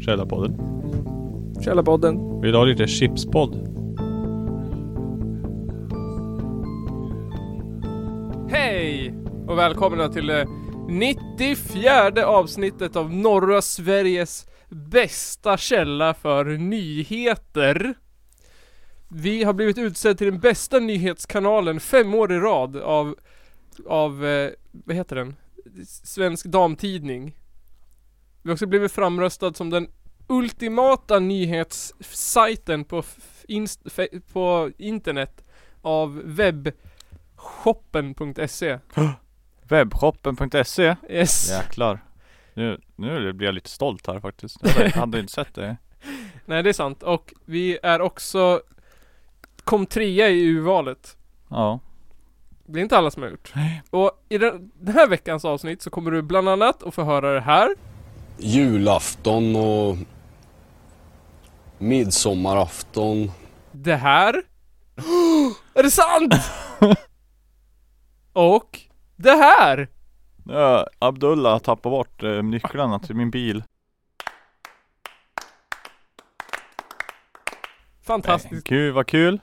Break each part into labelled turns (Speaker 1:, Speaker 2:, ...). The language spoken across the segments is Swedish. Speaker 1: Källarpodden.
Speaker 2: Källarpodden.
Speaker 1: Vill du ha lite chipspodd?
Speaker 2: Hej! Och välkomna till det 94 avsnittet av norra Sveriges bästa källa för nyheter. Vi har blivit utsedd till den bästa nyhetskanalen fem år i rad av, av eh, vad heter den? Svensk Damtidning. Vi har också blivit framröstad som den ultimata nyhetssajten på, f- inst- fe- på internet av webbshoppen.se.
Speaker 3: Webbshoppen.se
Speaker 2: Yes.
Speaker 3: Jäklar nu, nu blir jag lite stolt här faktiskt Jag hade- hade inte sett det
Speaker 2: Nej, det är sant. Och vi är också kom trea i urvalet.
Speaker 3: Ja
Speaker 2: Det är inte alla som har gjort. Och i den, den här veckans avsnitt så kommer du bland annat att få höra det här.
Speaker 4: julafton och midsommarafton.
Speaker 2: Det här. är det sant? Och det här.
Speaker 3: Ja, Abdullah tappade bort eh, nycklarna till min bil
Speaker 2: Fantastiskt.
Speaker 3: Eh, Gud vad kul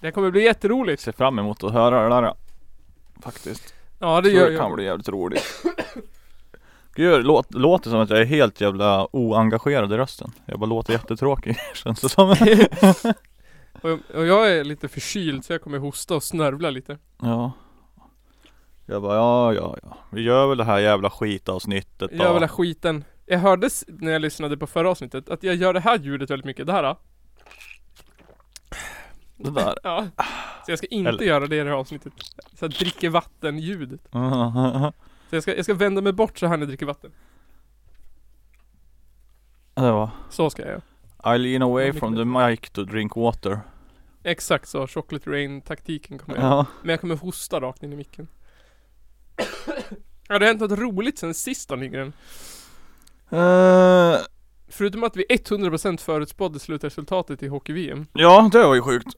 Speaker 2: Det här kommer bli jätteroligt.
Speaker 3: Ser fram emot att höra det där Faktiskt
Speaker 2: Ja, det
Speaker 3: Tror
Speaker 2: gör
Speaker 3: det kan
Speaker 2: jag.
Speaker 3: bli jävligt roligt Gud, det låt, låter som att jag är helt jävla oengagerad i rösten Jag bara låter jättetråkig känns det som
Speaker 2: Och, och jag är lite förkyld så jag kommer hosta och snörvla lite.
Speaker 3: Ja Jag bara ja ja ja Vi gör väl det här jävla skitavsnittet
Speaker 2: Jag vill
Speaker 3: då
Speaker 2: ha skiten. Jag hörde s- när jag lyssnade på förra avsnittet att jag gör det här ljudet väldigt mycket. Det här. ah.
Speaker 3: Det
Speaker 2: då.
Speaker 3: där
Speaker 2: Ja, så jag ska inte
Speaker 3: Eller-
Speaker 2: göra det i det här avsnittet. Så jag dricker vatten-ljudet. Så jag ska, jag ska vända mig bort så här när jag dricker vatten.
Speaker 3: Det var
Speaker 2: Så ska jag göra.
Speaker 3: I lean away
Speaker 2: mycket
Speaker 3: from the mic to drink water.
Speaker 2: Exakt så, chocolate rain-taktiken kommer jag
Speaker 3: Ja.
Speaker 2: Men jag kommer hosta rakt in i micken. Har det hänt något roligt sen sist då Nygren?
Speaker 3: Eh,
Speaker 2: Förutom att vi 100% förutspådde slutresultatet i Hockey-VM.
Speaker 3: ja, det var ju sjukt.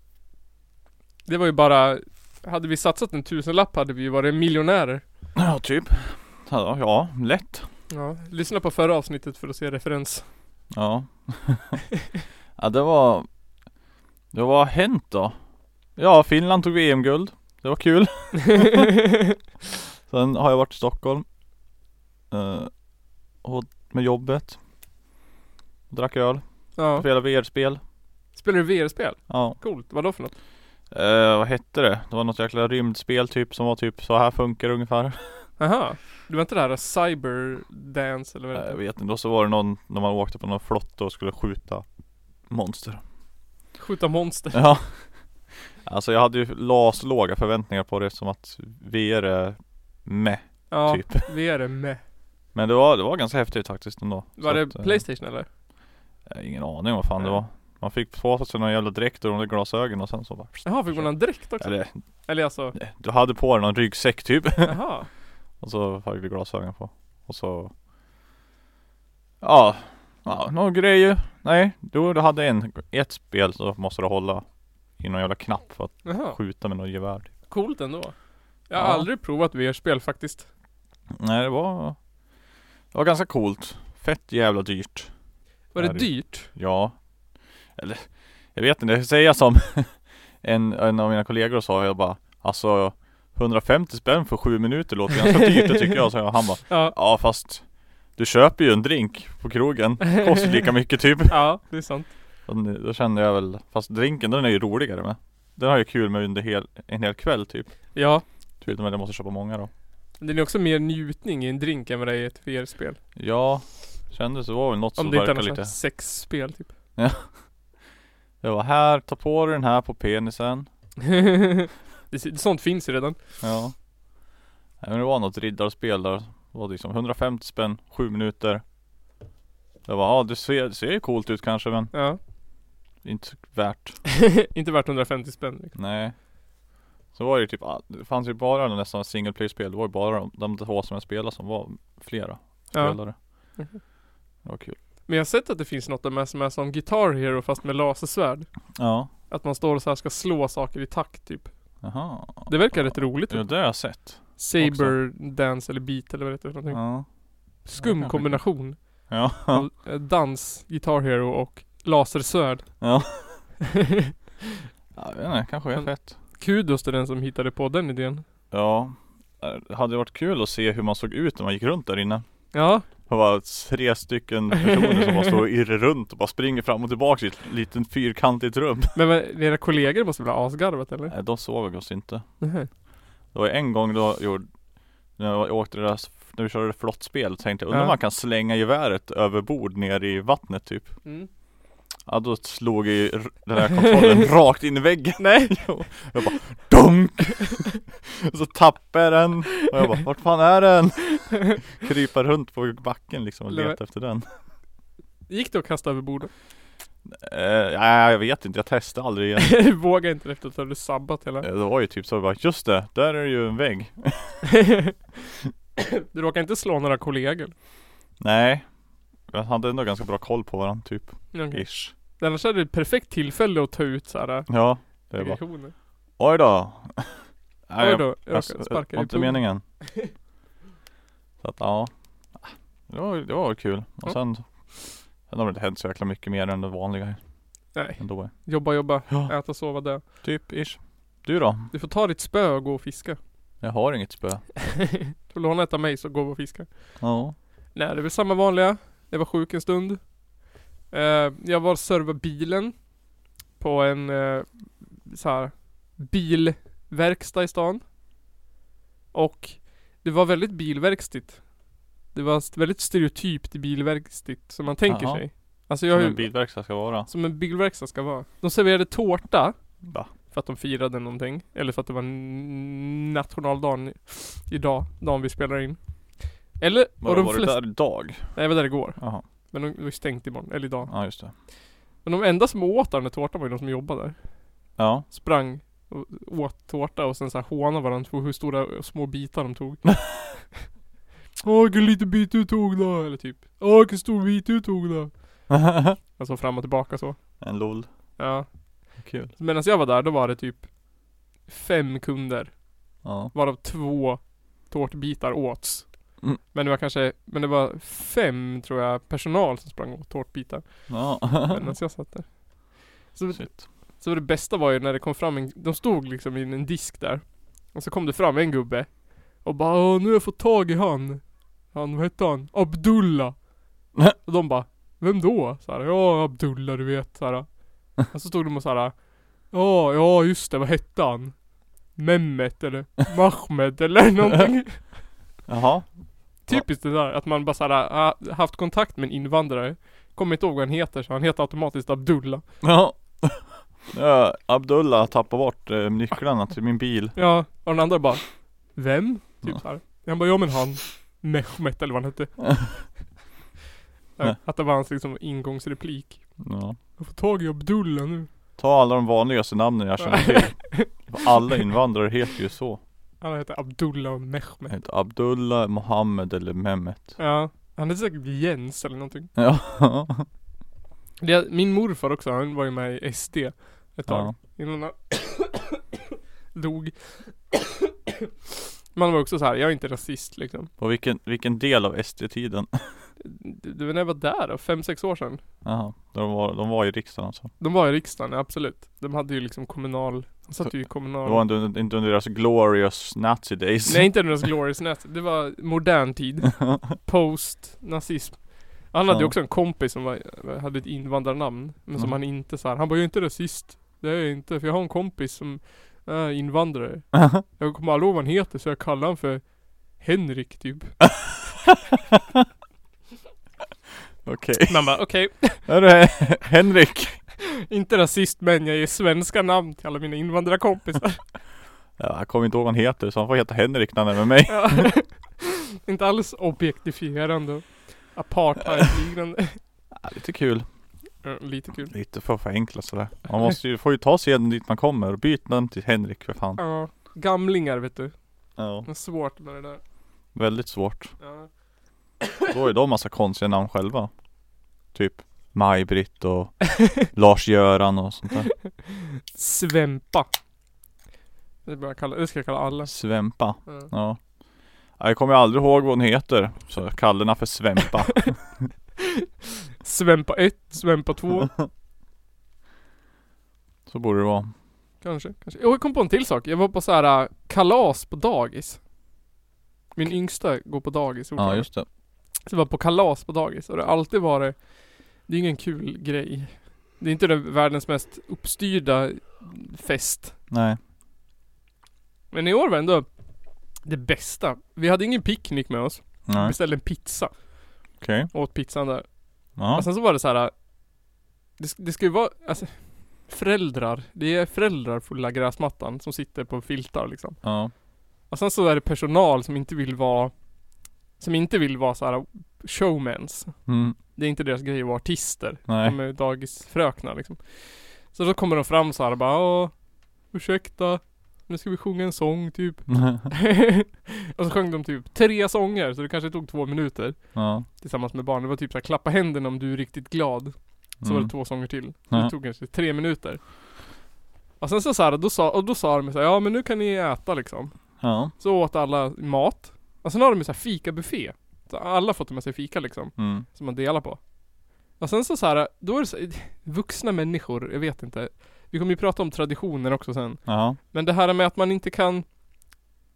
Speaker 2: Det var ju bara... Hade vi satsat en tusenlapp hade vi ju varit miljonärer.
Speaker 3: Ja, typ. Ja, ja lätt.
Speaker 2: Ja, lyssna på förra avsnittet för att se referens.
Speaker 3: Ja. ja, det var... Det var hänt då. Ja, Finland tog VM-guld. Det var kul. Sen har jag varit i Stockholm. Eh, och med jobbet. Drack öl.
Speaker 2: Ja.
Speaker 3: Spelade VR-spel.
Speaker 2: Spelar du VR-spel?
Speaker 3: Ja.
Speaker 2: Coolt, vadå för något?
Speaker 3: Eh, vad hette det? Det var något jäkla rymdspel typ som var typ så här funkar ungefär.
Speaker 2: Aha. Det var inte det här cyberdance eller vad det
Speaker 3: Nej, Eh, jag
Speaker 2: heter?
Speaker 3: vet inte, och så var det någon när man åkte på någon flotte och skulle skjuta monster.
Speaker 2: Skjuta monster.
Speaker 3: Ja. Alltså jag hade ju laslåga förväntningar på det som att VR är meh.
Speaker 2: Ja,
Speaker 3: Typ.
Speaker 2: VR är med.
Speaker 3: Men det var, det var ganska häftigt faktiskt ändå.
Speaker 2: Var
Speaker 3: Så
Speaker 2: det
Speaker 3: att, eh,
Speaker 2: Playstation eller?
Speaker 3: jag har Ingen aning vad fan det
Speaker 2: Nej.
Speaker 3: var. Man fick på sig någon jävla dräkt och de där glasögonen och sen så bara
Speaker 2: Jaha, fick man en dräkt också?
Speaker 3: Eller eh,
Speaker 2: Eller alltså,
Speaker 3: du hade på dig någon ryggsäck typ.
Speaker 2: jaha.
Speaker 3: Och så hade vi glasögon på. Och så.. Ja, ja några grejer. Nej, då du hade en, ett spel så måste du hålla i någon jävla knapp för att
Speaker 2: Jaha.
Speaker 3: skjuta med något gevär. typ.
Speaker 2: Coolt ändå. Jag har
Speaker 3: Ja.
Speaker 2: aldrig provat VR-spel faktiskt.
Speaker 3: Nej det var.. Det var ganska coolt. Fett jävla dyrt.
Speaker 2: Var det
Speaker 3: Ja, det-
Speaker 2: dyrt?
Speaker 3: Ja. Eller, jag vet inte, jag ska säga som en, en av mina kollegor sa, jag bara Alltså 150 spänn för sju minuter låter ganska dyrt det tycker jag, så han bara
Speaker 2: Ja.
Speaker 3: Ja fast du köper ju en drink på krogen, kostar lika mycket typ
Speaker 2: Ja, det är sant.
Speaker 3: Och nu- Då kände jag väl, fast drinken den är ju roligare med Den har jag kul med under hel, en hel kväll typ
Speaker 2: Ja.
Speaker 3: Förutom att jag måste köpa många då
Speaker 2: Men Det är också mer njutning i en drink än vad det är i ett VR-spel.
Speaker 3: Ja Kändes det var väl något
Speaker 2: Om
Speaker 3: som
Speaker 2: det inte är
Speaker 3: verkade
Speaker 2: något
Speaker 3: lite
Speaker 2: slags sexspel typ.
Speaker 3: Det var här, ta på dig den här på penisen
Speaker 2: Det- Sånt finns ju redan.
Speaker 3: Ja Nej men det var något riddarspel där Det var liksom 150 spänn, 7 minuter Jag bara, ja det ser, det ser ju coolt ut kanske men
Speaker 2: Ja.
Speaker 3: inte värt
Speaker 2: Inte värt 150 spänn. liksom.
Speaker 3: Nej Så var det ju typ, all- det fanns ju bara nästan single player spel Det var ju bara de, de två som jag spelade som var flera
Speaker 2: Ja.
Speaker 3: spelare
Speaker 2: Mhm.
Speaker 3: Det var kul
Speaker 2: Men jag har sett att det finns något där som är som Guitar Hero fast med lasersvärd.
Speaker 3: Ja,
Speaker 2: Att man står och så här ska slå saker i takt typ.
Speaker 3: jaha
Speaker 2: Det verkar rätt roligt.
Speaker 3: Ja det har jag sett
Speaker 2: Mm. Saber dance eller beat eller vad det heter för någonting.
Speaker 3: Ja
Speaker 2: Skum kombination.
Speaker 3: Ja.
Speaker 2: av eh, dans, Guitar Hero och lasersvärd.
Speaker 3: Ja. ja jag vet inte, kanske är fett.
Speaker 2: Kudos till den som hittade på den idén.
Speaker 3: Ja. Eh, Det hade varit kul att se hur man såg ut när man gick runt där inne.
Speaker 2: Ja,
Speaker 3: Det var tre stycken personer som bara står och irrar runt och bara springer fram och tillbaka i ett litet fyrkantigt rum.
Speaker 2: men vad- era kollegor måste väl ha asgarvat eller?
Speaker 3: Nej, de såg oss inte.
Speaker 2: Nej.
Speaker 3: Det var en gång då jag gjorde, när jag åkte det där, när vi körde det flottspel, tänkte jag undrar om
Speaker 2: Ja.
Speaker 3: man kan slänga geväret över bord ner i vattnet typ.
Speaker 2: Mm.
Speaker 3: Ja då slog ju r- den här kontrollen rakt in i väggen.
Speaker 2: Nej.
Speaker 3: Jag bara DONK! Och så tappade jag den och jag bara vart fan är den? Krypa runt på backen liksom och leta efter den.
Speaker 2: Gick det att kasta över bordet?
Speaker 3: Eh, nej jag vet inte, jag testade aldrig igen.
Speaker 2: Våga inte efter att du hade sabbat hela.
Speaker 3: Eh, Det var ju typ så jag bara just det, där är det ju en vägg.
Speaker 2: du råkar inte slå några kollegor?
Speaker 3: Nej. Jag hade ändå ganska bra koll på varandra typ.
Speaker 2: Okay.
Speaker 3: Ish.
Speaker 2: Annars hade du ett perfekt tillfälle att ta ut såhär
Speaker 3: Ja. Det var
Speaker 2: aggressioner.
Speaker 3: Oj då. Nej,
Speaker 2: Oj
Speaker 3: jag-
Speaker 2: då, jag
Speaker 3: jag-
Speaker 2: råkade
Speaker 3: jag-
Speaker 2: sparka
Speaker 3: var
Speaker 2: dig
Speaker 3: inte
Speaker 2: på
Speaker 3: meningen. Så att ja. Det var, det var kul. Och sen, sen har det inte hänt så jäkla mycket mer än det vanliga
Speaker 2: Nej,
Speaker 3: ändå.
Speaker 2: jobba, jobba,
Speaker 3: Ja.
Speaker 2: äta, sova, dö.
Speaker 3: Typ ish. Du då?
Speaker 2: Du får ta ditt spö och gå och fiska.
Speaker 3: Jag har inget spö.
Speaker 2: Du får låna ett av mig så går vi och fiskar.
Speaker 3: Ja.
Speaker 2: Nej, det är väl samma vanliga. Jag var sjuk en stund. Eh, jag var och servade bilen på en eh, så här bilverkstad i stan. Och det var väldigt bilverkstigt. Det var st- väldigt stereotypt bilverkstigt som man tänker
Speaker 3: Jaha.
Speaker 2: sig. Alltså jag
Speaker 3: Som
Speaker 2: har
Speaker 3: en
Speaker 2: ju,
Speaker 3: bilverkstad ska vara.
Speaker 2: som en bilverkstad ska vara. De serverade tårta
Speaker 3: Va?
Speaker 2: för att de firade någonting. Eller för att det var n- nationaldagen idag, dagen vi spelar in. Eller,
Speaker 3: Var,
Speaker 2: och de
Speaker 3: var du
Speaker 2: flesta-
Speaker 3: där idag?
Speaker 2: Nej, jag var där igår.
Speaker 3: Jaha.
Speaker 2: Men de var ju stängt imorgon, eller idag.
Speaker 3: Ja just det.
Speaker 2: Men de enda som åt den där tårtan var ju de som jobbade där.
Speaker 3: Ja.
Speaker 2: Sprang och åt tårta och sen så här hånade varandra för hur stora och små bitar de tog. Åh vilken liten bit du tog då, eller typ. Åh vilken stor bit du tog då. Alltså fram och tillbaka så.
Speaker 3: en lol.
Speaker 2: Ja.
Speaker 3: Kul.
Speaker 2: Medan jag var där, då var det typ fem kunder.
Speaker 3: Ja.
Speaker 2: Varav två tårtbitar åts.
Speaker 3: Mm.
Speaker 2: Men det var kanske, men det var fem tror jag personal som sprang åt tårtbitar.
Speaker 3: Ja.
Speaker 2: Medan jag satt där. Så
Speaker 3: Shit.
Speaker 2: Så det bästa var ju när det kom fram en, de stod liksom i en disk där. Och så kom det fram en gubbe. Och bara Åh, nu har jag fått tag i han. Han, vad hette han? Abdullah. och de bara Vem då? Så här, ja Abdullah du vet. Så här. Och så stod de och så här. Ja, ja just det, vad hette han? Mehmet eller Mahmed eller någonting.
Speaker 3: Jaha.
Speaker 2: Typiskt det där, att man bara så här, har haft kontakt med en invandrare. Kommer inte ihåg vad han heter så han heter automatiskt Abdullah.
Speaker 3: Ja. Ja, Abdullah tappade bort eh, nycklarna till min bil.
Speaker 2: Ja, och den andra bara Vem? Typ
Speaker 3: Ja.
Speaker 2: såhär. Han bara, ja men han Mehmet eller vad han hette.
Speaker 3: Nej.
Speaker 2: Ja, att det var hans liksom ingångsreplik.
Speaker 3: Ja.
Speaker 2: Jag får tag i Abdullah nu.
Speaker 3: Ta alla de vanligaste namnen jag känner till. Alla invandrare heter ju så.
Speaker 2: Han heter Abdullah och
Speaker 3: Jag
Speaker 2: Mehmet.
Speaker 3: heter Abdullah, Mohammed eller Mehmet.
Speaker 2: Ja. Han heter säkert Jens eller någonting.
Speaker 3: Ja.
Speaker 2: Det, min morfar också, han var ju med i SD ett tag.
Speaker 3: ja.
Speaker 2: Innan han dog. Man var också så här, jag är inte rasist liksom.
Speaker 3: På vilken, vilken del av SD-tiden?
Speaker 2: Det det var när jag var där då, fem, sex år sedan.
Speaker 3: Jaha. De var, de var i riksdagen alltså.
Speaker 2: De var i riksdagen, ja, absolut. De hade ju liksom kommunal, de satt ju i kommunal...
Speaker 3: Det var inte under, inte under deras glorious nazi days.
Speaker 2: Nej inte deras glorious net, det var modern tid. Post, nazism. Han hade ju
Speaker 3: Ja.
Speaker 2: också en kompis som var, hade ett invandrarnamn. Men som
Speaker 3: Mm.
Speaker 2: han inte så här. han var ju inte rasist. Det är jag inte, för jag har en kompis som är invandrare. Jag kommer aldrig ihåg vad han heter så jag kallar honom för Henrik typ.
Speaker 3: Okej.
Speaker 2: Man bara okej,
Speaker 3: Hörru, Henrik.
Speaker 2: inte rasist men jag ger svenska namn till alla mina invandrarkompisar.
Speaker 3: Ja, jag kommer inte ihåg vad han heter så han får heta Henrik när han är med mig.
Speaker 2: Ja. inte alls objektifierande och apartheidliknande.
Speaker 3: Ja, lite kul.
Speaker 2: Ja, Lite kul.
Speaker 3: Lite för förenklat sådär. Man måste ju, får ju ta seden dit man kommer och byt namn till Henrik för fan.
Speaker 2: Ja, gamlingar vet du.
Speaker 3: Ja.
Speaker 2: Det är svårt med det där.
Speaker 3: Väldigt svårt.
Speaker 2: Ja.
Speaker 3: Då har ju de massa konstiga namn själva. Typ Maj-Britt och Lars-Göran och sånt där.
Speaker 2: Svempa. Det, bör jag kalla, det ska jag kalla alla.
Speaker 3: Svempa.
Speaker 2: Ja.
Speaker 3: Ja. Jag kommer aldrig ihåg vad hon heter. Så jag kallar henne för Svempa.
Speaker 2: Svempa 1, Svempa 2.
Speaker 3: Så borde det vara.
Speaker 2: Kanske, kanske. Och jag kom på en till sak. Jag var på så här äh, kalas på dagis. Min yngsta går på dagis
Speaker 3: Ja
Speaker 2: fortfarande.
Speaker 3: just det.
Speaker 2: Så jag var på kalas på dagis och det har alltid varit Det är ingen kul grej. Det är inte den världens mest uppstyrda fest.
Speaker 3: Nej.
Speaker 2: Men i år var ändå det bästa. Vi hade ingen picknick med oss. Vi
Speaker 3: Nej.
Speaker 2: beställde en pizza
Speaker 3: Okej.
Speaker 2: och åt pizzan där.
Speaker 3: Ja.
Speaker 2: Och sen så var det så här. äh, Det, sk- det ska ju vara, alltså, föräldrar. Det är föräldrar på lilla gräsmattan som sitter på filtar liksom.
Speaker 3: Ja.
Speaker 2: Och sen så är det personal som inte vill vara Som inte vill vara så här äh, showmans
Speaker 3: Mm.
Speaker 2: Det är inte deras grej att vara artister
Speaker 3: Nej.
Speaker 2: De är dagisfröknar liksom Så då kommer de fram så här och bara Åh, ursäkta Nu ska vi sjunga en sång typ Och så sjöng de typ tre sånger så det kanske tog två minuter
Speaker 3: ja. mm.
Speaker 2: Tillsammans med barnen, det var typ så här, klappa händerna om du är riktigt glad Så var
Speaker 3: Mm.
Speaker 2: det två sånger till.
Speaker 3: Ja.
Speaker 2: Det tog kanske tre minuter Och sen så, så här, då sa, och då sa de så här, ja men nu kan ni äta liksom
Speaker 3: Ja.
Speaker 2: Så åt alla mat. Och sen har de ju så här fikabuffé. Så alla har fått med sig fika liksom,
Speaker 3: Mm.
Speaker 2: som man delar på. Och sen så, så här, då är det så här, vuxna människor, jag vet inte. Vi kommer ju prata om traditioner också sen.
Speaker 3: Ja.
Speaker 2: Men det här med att man inte kan,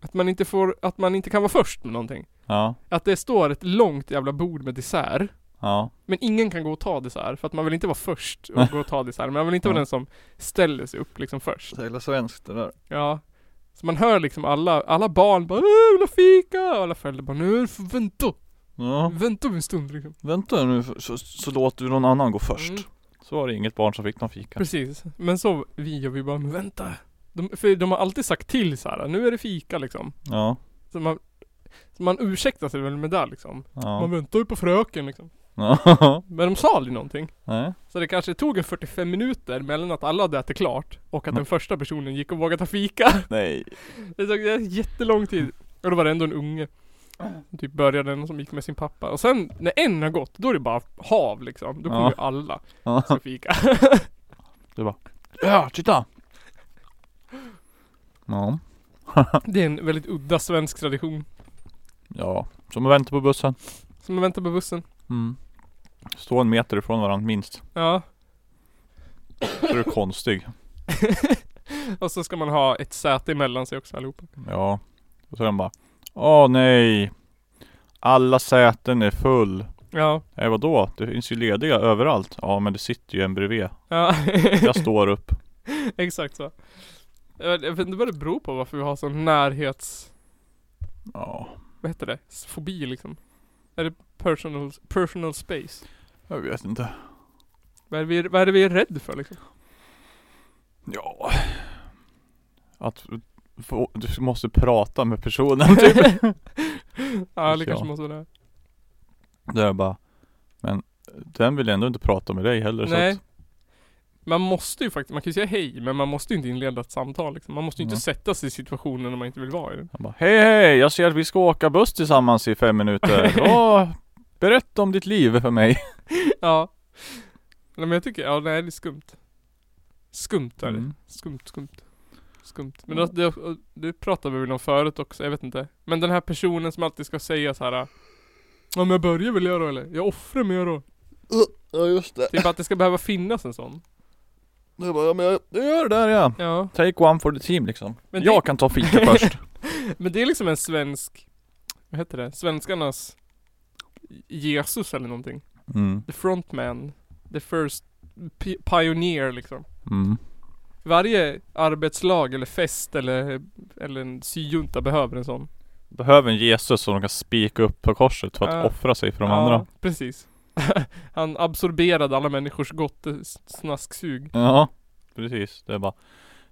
Speaker 2: att man inte får, att man inte kan vara först med någonting.
Speaker 3: Ja.
Speaker 2: Att det står ett långt jävla bord med dessert.
Speaker 3: Ja.
Speaker 2: Men ingen kan gå och ta dessert, för att man vill inte vara först och gå och ta dessert. Men man vill inte vara
Speaker 3: Ja.
Speaker 2: den som ställer sig upp liksom först.
Speaker 3: Så jävla svenskt det där.
Speaker 2: Ja. Så man hör liksom alla, alla barn bara "Åh, vill ha fika! Och alla föräldrar bara nu får vi vänta,
Speaker 3: Ja.
Speaker 2: vänta en stund liksom.
Speaker 3: Vänta nu så- så, så låter du någon annan gå först.
Speaker 2: Mm.
Speaker 3: Så var det inget barn som fick någon fika.
Speaker 2: Precis. Men så vi gör vi bara, men vänta. De, för de har alltid sagt till så här, nu är det fika liksom.
Speaker 3: Ja.
Speaker 2: Så man, så man ursäktar sig väl med det liksom. Man
Speaker 3: Ja.
Speaker 2: väntar ju på fröken liksom.
Speaker 3: Ja.
Speaker 2: Men de sa aldrig någonting.
Speaker 3: Nej.
Speaker 2: Så det kanske tog en 45 minuter mellan att alla hade ätit klart och att
Speaker 3: Mm.
Speaker 2: den första personen gick och vågade ta fika.
Speaker 3: Nej.
Speaker 2: Det tog det är jättelång tid. Och då var det ändå en unge. Som Typ började den som gick med sin pappa. Och sen när en har gått, då är det bara hav liksom. Då kommer
Speaker 3: Ja.
Speaker 2: ju alla
Speaker 3: Ja.
Speaker 2: ska fika.
Speaker 3: Ja, titta! Ja.
Speaker 2: det är en väldigt udda svensk tradition.
Speaker 3: Ja. Som att vänta på bussen.
Speaker 2: Som att vänta på bussen.
Speaker 3: Mm. Stå en meter ifrån varandra minst.
Speaker 2: Ja.
Speaker 3: Så är du konstig.
Speaker 2: Och så ska man ha ett säte emellan sig också allihopa.
Speaker 3: Ja. Och så är de bara. Åh nej. Alla säten är full.
Speaker 2: Ja.
Speaker 3: Nej vadå? Det finns ju lediga överallt. Ja men det sitter ju en bredvid.
Speaker 2: Ja.
Speaker 3: Jag står upp.
Speaker 2: Exakt så. Jag vet jag vet inte vad det beror på varför vi har sån närhets...
Speaker 3: Ja.
Speaker 2: Vad heter det? Fobi liksom. Är det personal, personal space?
Speaker 3: Jag vet inte.
Speaker 2: Vad är, det vi, vad är det vi är rädd för liksom?
Speaker 3: Ja. Att få, du måste prata med personen typ.
Speaker 2: Ja,
Speaker 3: Ja.
Speaker 2: det kanske måste vara det.
Speaker 3: Där jag bara. Men den vill ändå inte prata med dig heller.
Speaker 2: Nej.
Speaker 3: Så att,
Speaker 2: Man måste ju faktiskt, man kan ju säga hej men man måste ju inte inleda ett samtal liksom. Man måste ju inte
Speaker 3: Ja.
Speaker 2: sätta sig i situationen om man inte vill vara i den.
Speaker 3: han bara. Hej hej. Jag ser att vi ska åka buss tillsammans i fem minuter. Ja. Berätta om ditt liv för mig.
Speaker 2: Ja. Nej men jag tycker, ja nej det är skumt. Skumt är det.
Speaker 3: Mm.
Speaker 2: Skumt, skumt. Skumt. Men det, det, det pratade vi väl om förut också, jag vet inte. Men den här personen som alltid ska säga så här. Ja men jag börjar väl jag då eller? Jag offrar mig jag då.
Speaker 3: Ja just det.
Speaker 2: Typ att det ska behöva finnas en sån.
Speaker 3: Jag bara, ja, men jag, jag gör det där ja.
Speaker 2: Ja.
Speaker 3: Take one for the team liksom.
Speaker 2: Men
Speaker 3: jag kan ta fika först.
Speaker 2: Men det är liksom en svensk, vad heter det? Svenskarnas Jesus eller någonting.
Speaker 3: Mm.
Speaker 2: the frontman, the first pi- pioneer liksom.
Speaker 3: Mm.
Speaker 2: Varje arbetslag eller fest eller, eller en syjunta behöver en sån.
Speaker 3: Behöver en Jesus som de kan spika upp på korset för att
Speaker 2: Ja.
Speaker 3: offra sig för de
Speaker 2: ja,
Speaker 3: andra.
Speaker 2: precis. Han absorberade alla människors eh, gottesnasksug.
Speaker 3: Ja, precis. Det är bara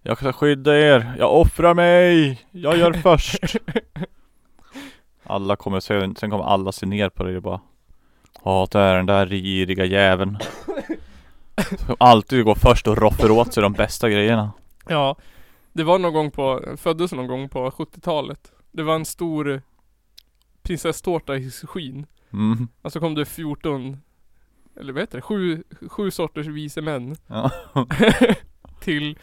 Speaker 3: Jag ska skydda er, jag offrar mig, jag gör först. Alla kommer sen, sen kommer alla se ner på dig och bara Ja, där är den där giriga jäveln. Som alltid går först och roffar åt sig de bästa grejerna.
Speaker 2: Ja. Det var någon gång på, föddes någon gång på 70-talet. Det var en stor prinsesstårta i skyn.
Speaker 3: Mm.
Speaker 2: Och så kom det 14, eller vad heter det? Sju, sju sorters vise män.
Speaker 3: Ja.
Speaker 2: till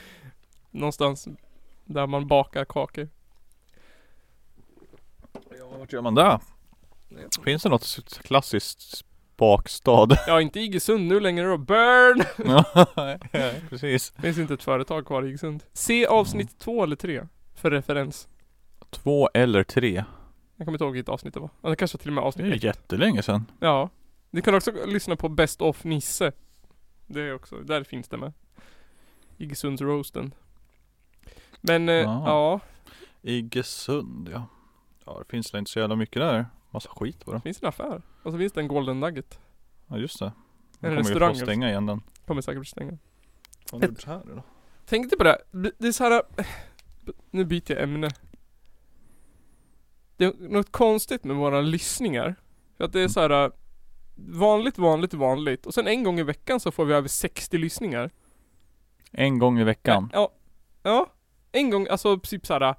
Speaker 2: någonstans där man bakar kakor.
Speaker 3: Ja, vart gör man det? Finns det något s- klassiskt bakstad.
Speaker 2: Ja, inte Iggesund nu längre då. Burn!
Speaker 3: ja, precis.
Speaker 2: Finns inte ett företag kvar i Iggesund. Se avsnitt två eller tre. För referens.
Speaker 3: Två eller tre.
Speaker 2: Jag kommer inte ihåg vilket avsnitt det var. Ja, Det kanske var till och med
Speaker 3: Det är ju
Speaker 2: avsnitt ett.
Speaker 3: jättelänge sedan.
Speaker 2: Ja. Ni kan också lyssna på Best of Nisse. Det är också, där finns det med. Iggesundsroasten. Men, eh,
Speaker 3: Ja.
Speaker 2: ja.
Speaker 3: Iggesund ja. Ja det finns väl inte så jävla mycket där. Massa skit bara.
Speaker 2: Finns det en affär? Och så finns det en Golden Nugget.
Speaker 3: Ja just det.
Speaker 2: En
Speaker 3: Den kommer ju
Speaker 2: restaurang
Speaker 3: få
Speaker 2: också.
Speaker 3: stänga igen den.
Speaker 2: Kommer säkert stänga.
Speaker 3: Fan,
Speaker 2: Ett-
Speaker 3: gjort här då?
Speaker 2: Tänkte på det. här. Det är så här. äh, Nu byter jag ämne. Det är något konstigt med våra lyssningar. För att det är så här. äh, Vanligt, vanligt, vanligt. Och sen en gång i veckan så får vi över 60 lyssningar.
Speaker 3: En gång i veckan.
Speaker 2: Ja. Ja. En gång, alltså typ såhär.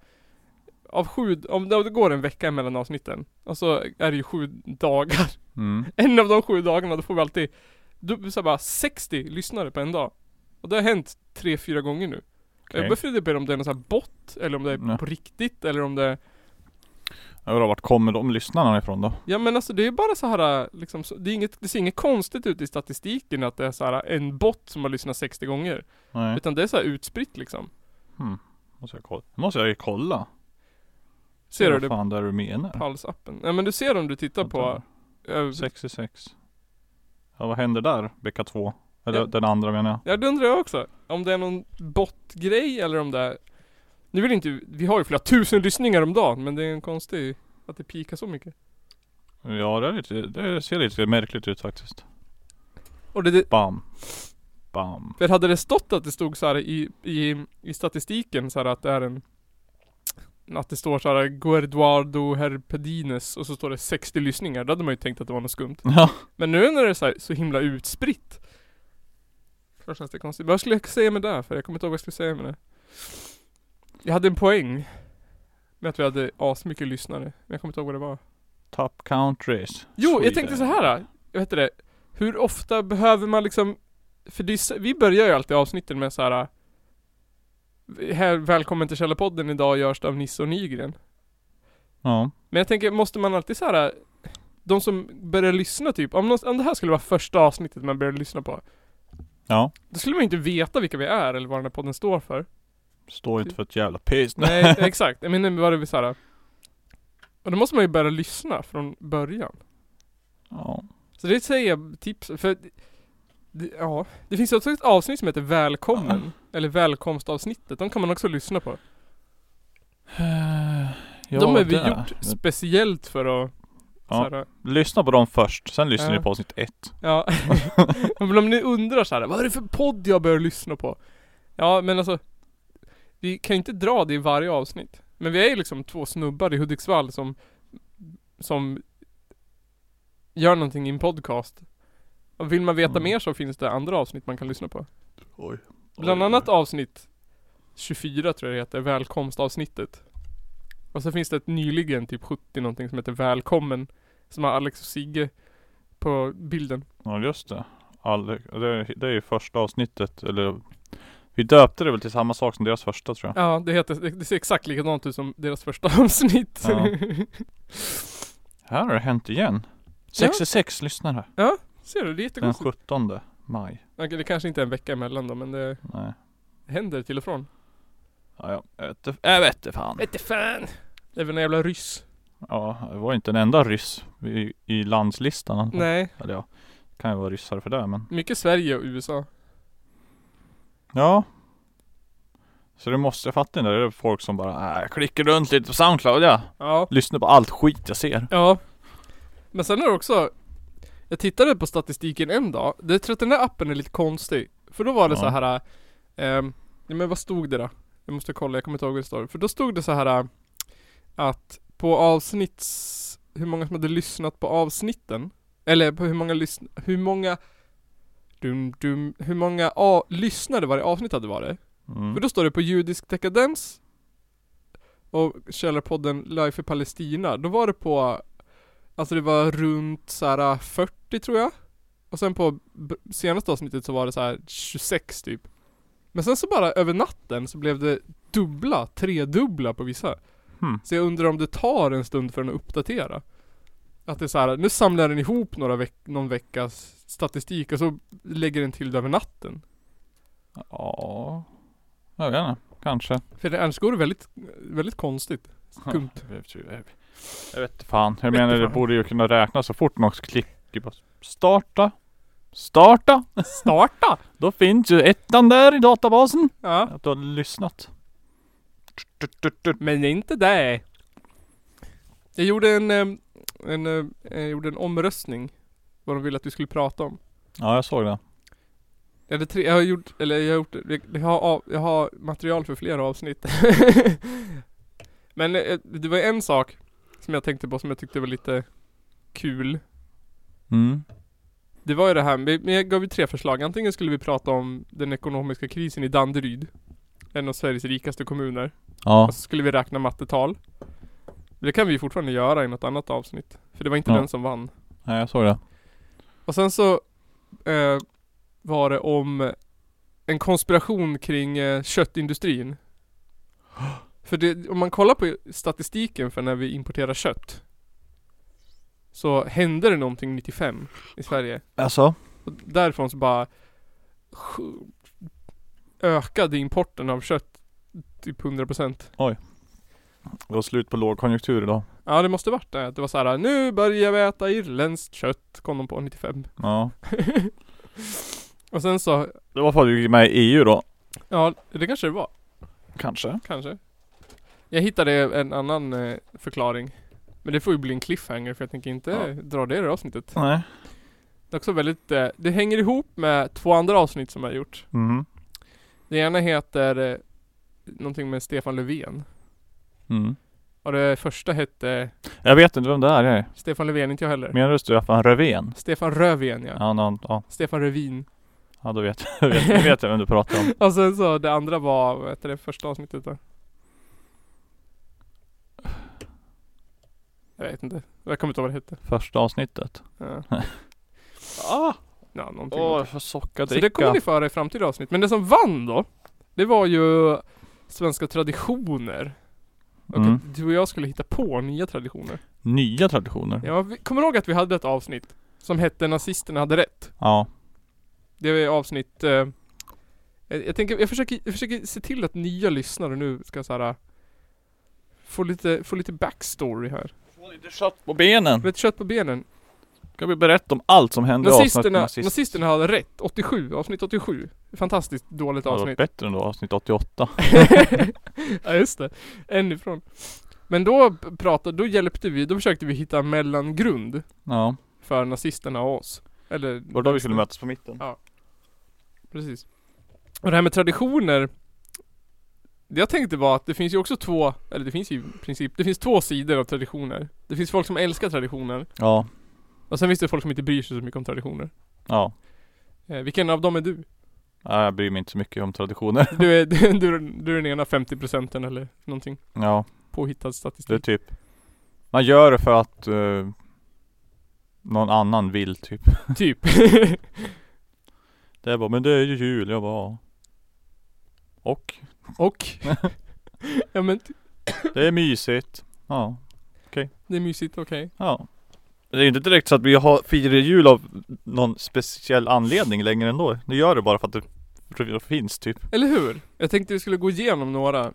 Speaker 2: Av sju, om det det går en vecka mellan avsnitten. Och så är det ju sju dagar.
Speaker 3: Mm.
Speaker 2: En av de sju dagarna, då får vi alltid du, så här bara 60 lyssnare på en dag. Och det har hänt tre, fyra gånger nu.
Speaker 3: Okej.
Speaker 2: Jag börjar fundera om det är någon sån här bot, eller om det är
Speaker 3: Nej.
Speaker 2: på riktigt, eller om det är...
Speaker 3: Jag undrar vart kommer de lyssnarna ifrån då?
Speaker 2: Ja men alltså det är bara så här liksom, så, det, är inget, det ser inget konstigt ut i statistiken att det är så här en bot som har lyssnat 60 gånger.
Speaker 3: Nej.
Speaker 2: Utan det är så här utspritt liksom.
Speaker 3: Måste jag kolla. Måste jag ju kolla.
Speaker 2: Ser du
Speaker 3: Vad
Speaker 2: det på
Speaker 3: fan det är du menar?
Speaker 2: Pulse-appen? Ja men du ser om du tittar på... eh,
Speaker 3: 66. Ja vad händer där vecka två? Eller
Speaker 2: Ja.
Speaker 3: den andra menar jag.
Speaker 2: Ja det undrar jag också. Om det är någon botgrej eller om det är... Nu vill inte, vi har ju flera tusen lyssningar om dagen men det är en konstig att det pikar så mycket.
Speaker 3: Ja det, är lite, det ser lite märkligt ut faktiskt.
Speaker 2: Och det, det,
Speaker 3: Bam. Bam.
Speaker 2: för hade det stått att det stod så här i, i, i statistiken så här att det är en att det står så här Guerduardo Herpedines och så står det 60 lyssningar. Då hade man ju tänkt att det var något skumt.
Speaker 3: Ja.
Speaker 2: Men nu när det är så, här, så himla utspritt. Då känns det konstigt. Vad skulle jag säga med det? För jag kommer inte ihåg vad jag skulle säga med det. Jag hade en poäng. Med att vi hade asmycket lyssnare. Men jag kommer inte ihåg vad det var.
Speaker 3: Top countries.
Speaker 2: Jo, jag
Speaker 3: Sweden.
Speaker 2: tänkte så här. Jag vet det. Hur ofta behöver man liksom... För det är, så- vi börjar ju alltid avsnitten med så här. här välkommen till Källarpodden idag görs det av Nisse och Nygren.
Speaker 3: Ja.
Speaker 2: Men jag tänker, måste man alltid så här. De som börjar lyssna typ, om, någon, om det här skulle vara första avsnittet man börjar lyssna på
Speaker 3: Ja.
Speaker 2: Då skulle man ju inte veta vilka vi är eller vad den här podden står för
Speaker 3: Står inte för ett jävla piss.
Speaker 2: Nej exakt, jag menar vad det vill säga Och då måste man ju börja lyssna från början
Speaker 3: Ja.
Speaker 2: Så det säger jag tips, för det- det, ja, det finns också ett avsnitt som heter Välkommen Eller välkomstavsnittet, de kan man också lyssna på
Speaker 3: Ja,
Speaker 2: Eh, De har vi
Speaker 3: det.
Speaker 2: gjort speciellt för att
Speaker 3: Ja.
Speaker 2: så här,
Speaker 3: Lyssna på dem först, sen lyssnar
Speaker 2: Ja.
Speaker 3: ni på avsnitt ett.
Speaker 2: Ja, men om ni undrar så här, vad är det för podd jag bör lyssna på? Ja, men alltså Vi kan ju inte dra det i varje avsnitt Men vi är ju liksom två snubbar i Hudiksvall som Som Gör någonting i en podcast Och vill man veta
Speaker 3: Mm.
Speaker 2: mer så finns det andra avsnitt man kan lyssna på
Speaker 3: Oj.
Speaker 2: Bland annat avsnitt 24 tror jag det heter, välkomstavsnittet. Och så finns det ett nyligen, typ 70 någonting som heter Välkommen. Som har Alex och Sigge på bilden.
Speaker 3: Ja just det. All, det, det är ju första avsnittet, eller vi döpte det väl till samma sak som deras första tror jag.
Speaker 2: Ja, det, heter, det, det ser exakt likadant ut som deras första avsnitt.
Speaker 3: Ja. Här har det hänt igen. 66 lyssnare.
Speaker 2: Ser du, det är
Speaker 3: Den
Speaker 2: jättekonstigt.
Speaker 3: 17 maj.
Speaker 2: Okej, det kanske inte är en vecka emellan då, men det
Speaker 3: Nej.
Speaker 2: händer till och från.
Speaker 3: Ja, ja. jag vet inte- Jag vet inte fan.
Speaker 2: Vete fan! Det är väl en jävla ryss.
Speaker 3: Ja, det var inte en enda ryss i, i landslistan. i alla fall.
Speaker 2: Nej,
Speaker 3: Eller ja, det kan ju vara ryssar för det men.
Speaker 2: mycket Sverige och USA.
Speaker 3: Ja. Så det måste jag fatta det. Det är folk som bara, äh, jag klickar runt lite på Soundcloud ja.
Speaker 2: Ja.
Speaker 3: Lyssnar på allt skit jag ser.
Speaker 2: Ja. Men sen är det också Jag tittade på statistiken en dag. Det tror att den där appen är lite konstig. För då var det
Speaker 3: Ja.
Speaker 2: så här ehm, ja, men vad stod det då? Jag måste kolla, jag kommer inte ihåg vad det står. För då stod det så här eh, att på avsnitts... Hur många som hade lyssnat på avsnitten. Eller på hur många lyssn... Hur många... Dum, dum, hur många a- lyssnare varje avsnitt hade varit. För
Speaker 3: Mm.
Speaker 2: då står det på judisk dekadens och källarpodden Life i Palestina. Då var det på, alltså det var runt så här 40 tror jag. Och sen på b- senaste avsnittet så var det så här 26 typ. Men sen så bara över natten så blev det dubbla, tredubbla på vissa.
Speaker 3: Hmm.
Speaker 2: Så jag undrar om det tar en stund för den att uppdatera. Att det är så här, nu samlar den ihop några veck- någon veckas statistik och så lägger den till det över natten.
Speaker 3: Ja. Jag vet inte. Kanske.
Speaker 2: För det, annars går det väldigt, väldigt konstigt. Skumt.
Speaker 3: Jag vet inte fan. Jag
Speaker 2: Vet
Speaker 3: menar
Speaker 2: inte
Speaker 3: det
Speaker 2: fan.
Speaker 3: borde ju kunna räkna så fort någon klickar bara starta. Starta!
Speaker 2: Starta!
Speaker 3: Då finns ju ettan där i databasen.
Speaker 2: Ja.
Speaker 3: Att du har lyssnat.
Speaker 2: Men inte det. Jag gjorde en, em, en, em, jag gjorde en omröstning. Vad de ville att vi skulle prata om.
Speaker 3: Ja jag såg det.
Speaker 2: Jag, hade tre, jag har gjort, eller jag har gjort, jag har, av- jag har material för flera avsnitt. Men eh, det var en sak som jag tänkte på som jag tyckte var lite kul.
Speaker 3: Mm.
Speaker 2: Det var ju det här, vi- men jag gav ju tre förslag. Antingen skulle vi prata om den ekonomiska krisen i Danderyd. En av Sveriges rikaste kommuner.
Speaker 3: Ja.
Speaker 2: Och så Alltså, skulle vi räkna mattetal. Det kan vi ju fortfarande göra i något annat avsnitt. För det var inte
Speaker 3: Ja.
Speaker 2: den som vann.
Speaker 3: Nej jag såg det.
Speaker 2: Och sen så eh, var det om en konspiration kring eh, köttindustrin. För det, om man kollar på statistiken för när vi importerar kött. Så hände det någonting 95 i Sverige.
Speaker 3: Alltså?
Speaker 2: Och därifrån så bara sj- ökade importen av kött typ 100%.
Speaker 3: Det var slut på lågkonjunktur idag.
Speaker 2: Ja det måste varit det. Det var så här: nu börjar vi äta irländskt kött, kom de på 95.
Speaker 3: Ja.
Speaker 2: Och sen så,
Speaker 3: Det var för att du gick med i EU då.
Speaker 2: ja det kanske det var,
Speaker 3: Kanske.
Speaker 2: kanske. Jag hittade en annan eh, förklaring. Men det får ju bli en cliffhanger för jag tänker inte
Speaker 3: Ja.
Speaker 2: dra det i det här avsnittet.
Speaker 3: Nej.
Speaker 2: Det är också väldigt, eh, det hänger ihop med två andra avsnitt som jag har gjort.
Speaker 3: Mm.
Speaker 2: Det ena heter eh, någonting med Stefan Löfven.
Speaker 3: Mm.
Speaker 2: Och det första hette
Speaker 3: Jag vet inte vem det här är.
Speaker 2: Stefan Löfven, inte jag heller.
Speaker 3: Menar du Stefan Röven?
Speaker 2: Stefan Röven ja.
Speaker 3: Ja, någon, ja.
Speaker 2: Stefan Rövin.
Speaker 3: ja då vet jag. vet, jag vet jag vem du pratar om.
Speaker 2: Och sen så det andra var, vad heter det första avsnittet då? Jag vet inte. Jag kommer inte ihåg vad det hette.
Speaker 3: Första avsnittet.
Speaker 2: Ja,
Speaker 3: Ah!
Speaker 2: ja någonting.
Speaker 3: Åh,
Speaker 2: någonting.
Speaker 3: jag får sockadricka.
Speaker 2: så det kommer ni få höra i framtida avsnitt. Men det som vann då, det var ju svenska traditioner. Och
Speaker 3: Mm.
Speaker 2: att du och jag skulle hitta på nya traditioner.
Speaker 3: Nya traditioner. Ja.
Speaker 2: Ja, vi, kommer du ihåg att vi hade ett avsnitt som hette Nazisterna hade rätt? Det var ju avsnitt... Eh, jag, jag tänker, jag försöker, jag försöker se till att nya lyssnare nu ska så här, eh, Få lite, få lite backstory här.
Speaker 3: Få lite kött på benen.
Speaker 2: Lite kött på benen.
Speaker 3: Ska vi berätta om allt som hände i avsnittet
Speaker 2: Nazisterna,
Speaker 3: med nazist-
Speaker 2: nazisterna hade rätt. 87, avsnitt 87. Fantastiskt dåligt
Speaker 3: Det hade varit
Speaker 2: avsnitt.
Speaker 3: bättre än då avsnitt 88.
Speaker 2: ja just det. En ifrån. Men då p- pratade, då hjälpte vi, då försökte vi hitta en mellangrund
Speaker 3: Ja.
Speaker 2: för nazisterna och oss. Eller...
Speaker 3: Var det då vi skulle mötas på mitten?
Speaker 2: Ja. Precis. Och det här med traditioner. Det jag tänkte var att det finns ju också två, eller det finns ju i princip, det finns två sidor av traditioner. Det finns folk som älskar traditioner.
Speaker 3: Ja.
Speaker 2: Och sen finns det folk som inte bryr sig så mycket om traditioner.
Speaker 3: Ja.
Speaker 2: Eh, vilken av dem är du?
Speaker 3: ja. Jag bryr mig inte så mycket om traditioner.
Speaker 2: Du är, du, du, du är den ena 50 procenten eller någonting.
Speaker 3: Ja.
Speaker 2: Påhittad
Speaker 3: Det är
Speaker 2: statistik.
Speaker 3: typ Man gör det för att eh, Någon annan vill typ
Speaker 2: Typ.
Speaker 3: Det är bara men det är ju jul jag bara Och
Speaker 2: Och. ja men ty-
Speaker 3: det är mysigt Ja
Speaker 2: det är mysigt, okej.
Speaker 3: Ja Det är ju inte direkt så att vi har, firar jul av någon speciell anledning längre ändå Nu gör det bara för att det r- finns typ
Speaker 2: Eller hur? Jag tänkte vi skulle gå igenom några.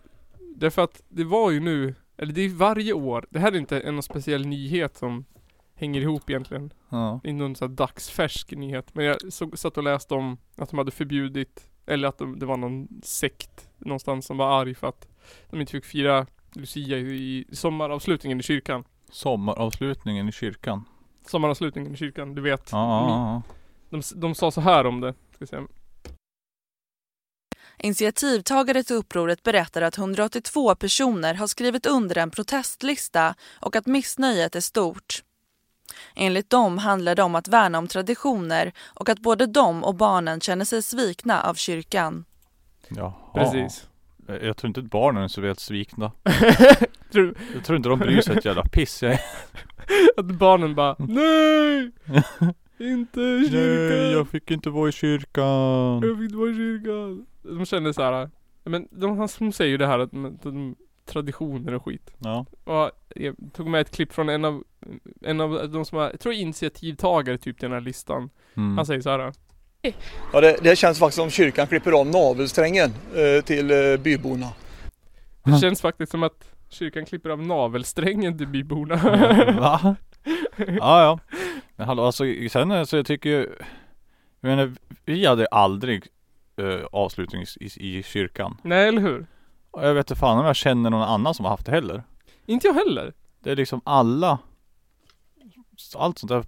Speaker 2: Därför att det var ju nu, eller det är varje år. Det här är inte en speciell nyhet som hänger ihop egentligen.
Speaker 3: Ja
Speaker 2: Det är inte någon så här dagsfärsk nyhet. Men jag såg, satt och läste om att de hade förbjudit, eller att de, det var någon sekt någonstans som var arg för att de inte fick fira Lucia i, i sommaravslutningen i kyrkan.
Speaker 3: Sommaravslutningen i kyrkan
Speaker 2: Sommaravslutningen i kyrkan, du vet.
Speaker 3: Ja, ja,
Speaker 2: De, de sa så här om det. Ska se.
Speaker 5: Initiativtagare till upproret berättar att 182 personer har skrivit under en protestlista och att missnöjet är stort. Enligt dem handlar det om att värna om traditioner och att både de och barnen känner sig svikna av kyrkan.
Speaker 3: ja. Jaha.
Speaker 2: Precis.
Speaker 3: Jag jag tror inte att barnen är så väl svikna
Speaker 2: Tror du-
Speaker 3: Jag tror inte de bryr sig ett jävla piss jag
Speaker 2: Att barnen bara Nej! inte i
Speaker 3: Nej,
Speaker 2: kyrkan!
Speaker 3: jag fick inte vara i kyrkan
Speaker 2: Jag fick inte vara i kyrkan! De känner så här. Men de, han- de säger ju det här att de, de traditioner och skit.
Speaker 3: Ja.
Speaker 2: Och eh, jag tog med ett klipp från en av, en av de som var, jag tror initiativtagare typ till den här listan.
Speaker 3: Mm.
Speaker 2: Han säger så här.
Speaker 6: Ja, det, det känns faktiskt som kyrkan klipper av navelsträngen eh, till eh, byborna.
Speaker 2: Det
Speaker 3: Mm.
Speaker 2: känns faktiskt som att kyrkan klipper av navelsträngen till byborna.
Speaker 3: Va? Ja, ja. Men hallå, alltså sen eh, så jag tycker ju Jag menar, vi hade aldrig eh, avslutning i, i, i kyrkan.
Speaker 2: Nej eller hur?
Speaker 3: Och jag vet inte fan om jag känner någon annan som har haft det heller.
Speaker 2: Inte jag heller.
Speaker 3: Det är liksom alla Allt sånt där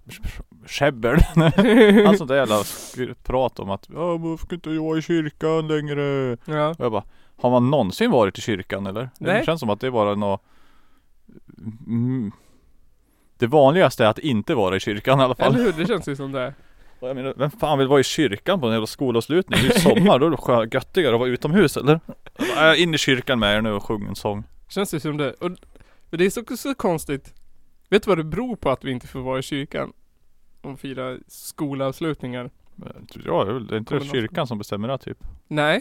Speaker 3: käbbel Allt sånt där jävla sk- prat om att Ja men varför ska inte jag vara i kyrkan längre?
Speaker 2: Ja.
Speaker 3: Och jag bara Har man någonsin varit i kyrkan eller?
Speaker 2: Nej.
Speaker 3: Det känns som att det är bara något mm, Det vanligaste är att inte vara i kyrkan i alla fall
Speaker 2: Eller hur? Det känns ju som det.
Speaker 3: Och jag menar, vem fan vill vara i kyrkan på en jävla skolavslutning? Det är ju sommar, då är det skö- göttigare att vara utomhus eller? Jag bara, "Äh, in i kyrkan med er nu och sjung en sång
Speaker 2: Känns ju som det. Och men det är så, så konstigt. Vet du vad det beror på att vi inte får vara i kyrkan? Och fira skolavslutningar?
Speaker 3: Men, Ja, det är väl- det är inte
Speaker 2: Kommer någon-
Speaker 3: kyrkan som bestämmer det typ?
Speaker 2: Nej.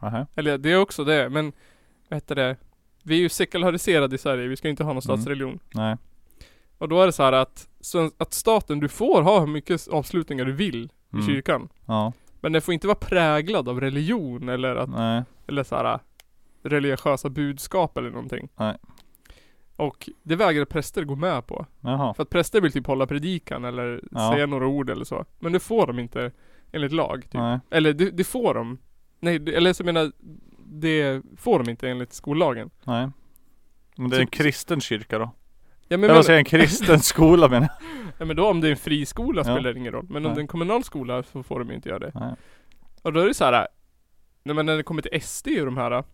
Speaker 3: Nähä.
Speaker 2: Eller det är också det, men vad heter det? Vi är ju sekulariserade i Sverige, vi ska inte ha någon
Speaker 3: Mm.
Speaker 2: statsreligion.
Speaker 3: Nej
Speaker 2: Och då är det så här att, så att staten, du får ha hur mycket avslutningar du vill i
Speaker 3: Mm.
Speaker 2: kyrkan.
Speaker 3: Ja,
Speaker 2: Men den får inte vara präglad av religion eller, att,
Speaker 3: nej
Speaker 2: eller så här religiösa budskap eller någonting.
Speaker 3: Nej.
Speaker 2: Och det vägrar präster gå med på.
Speaker 3: Jaha,
Speaker 2: För att präster vill typ hålla predikan eller
Speaker 3: Ja.
Speaker 2: säga några ord eller så. Men det får de inte enligt lag. Typ.
Speaker 3: nej
Speaker 2: Eller det, det får de. Nej, det, eller så menar jag, det får de inte enligt skollagen.
Speaker 3: Nej Men det är en kristen kyrka då?
Speaker 2: Ja Typ. men,
Speaker 3: Jag
Speaker 2: men,
Speaker 3: vill säga en kristen skola menar jag
Speaker 2: ja, men då om det är en friskola
Speaker 3: Ja.
Speaker 2: spelar det ingen roll. Men om
Speaker 3: Nej.
Speaker 2: det är en kommunal skola så får de ju inte göra det.
Speaker 3: Nej.
Speaker 2: Och då är det så här. Nej men när det kommer till SD och de här.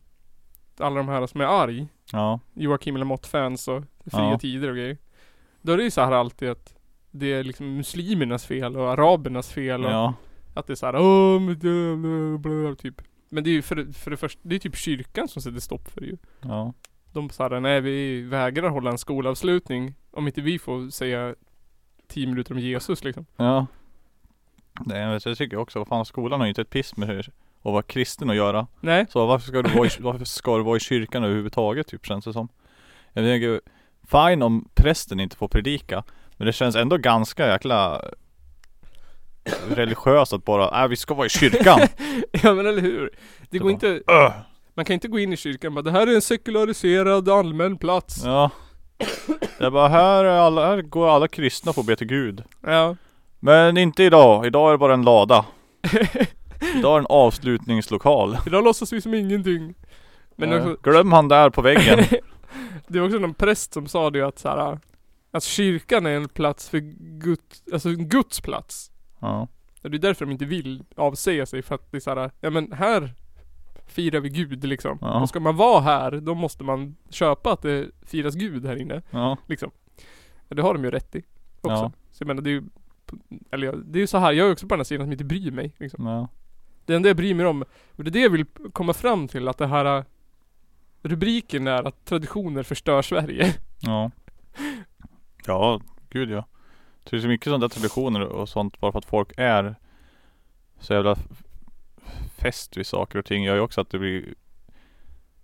Speaker 2: Alla de här som är arg.
Speaker 3: Ja,
Speaker 2: Joakim Lamotte-fans och Fria
Speaker 3: Ja.
Speaker 2: Tider och grejer. Då är det ju så här alltid att det är liksom muslimernas fel och arabernas fel och
Speaker 3: ja
Speaker 2: att det är så här Åh, men det- bla, bla, bla", typ. Men det är ju för, för det första, det är typ kyrkan som sätter stopp för det ju.
Speaker 3: Ja,
Speaker 2: De sa det, nej vi vägrar hålla en skolavslutning om inte vi får säga 10 minuter om Jesus liksom.
Speaker 3: ja. Nej men jag tycker också, vad fan skolan har ju inte ett piss med hur att vara kristen att göra.
Speaker 2: Nej.
Speaker 3: Så varför ska du vara i, varför ska du vara i kyrkan överhuvudtaget typ känns det som. Jag tänker, fine om prästen inte får predika. Men det känns ändå ganska jäkla religiöst att bara, äh, vi ska vara i kyrkan.
Speaker 2: ja men eller hur. Det går
Speaker 3: Så.
Speaker 2: inte,
Speaker 3: Öh.
Speaker 2: man kan inte gå in i kyrkan och bara, det här är en sekulariserad allmän plats.
Speaker 3: ja. Jag bara, här, är alla, här går alla kristna och får be till Gud.
Speaker 2: Ja.
Speaker 3: Men inte idag, idag är det bara en lada. Idag är det en avslutningslokal.
Speaker 2: Idag låtsas vi som ingenting. Men det, är
Speaker 3: Eh,
Speaker 2: också,
Speaker 3: Glöm han där på väggen.
Speaker 2: det är också någon präst som sa det ju att så här, att kyrkan är en plats för Guds, alltså en Guds plats.
Speaker 3: ja.
Speaker 2: Och det är därför de inte vill avsäga sig för att det är såhär, ja men här firar vi Gud liksom.
Speaker 3: Ja.
Speaker 2: Och ska man vara här, då måste man köpa att det firas Gud här inne.
Speaker 3: Ja.
Speaker 2: Liksom. Ja, det har de ju rätt i också.
Speaker 3: Ja.
Speaker 2: Så jag menar det är ju, eller jag- det är ju så här jag är också på den här sidan som inte bryr mig. Liksom.
Speaker 3: ja.
Speaker 2: Det enda jag bryr mig om, och det är det jag vill komma fram till, att det här äh, Rubriken är att traditioner förstör Sverige.
Speaker 3: Ja. Ja, gud ja. Det är så mycket sådana där traditioner och sånt bara för att folk är så jävla f- fäst vid saker och ting gör ju också att det blir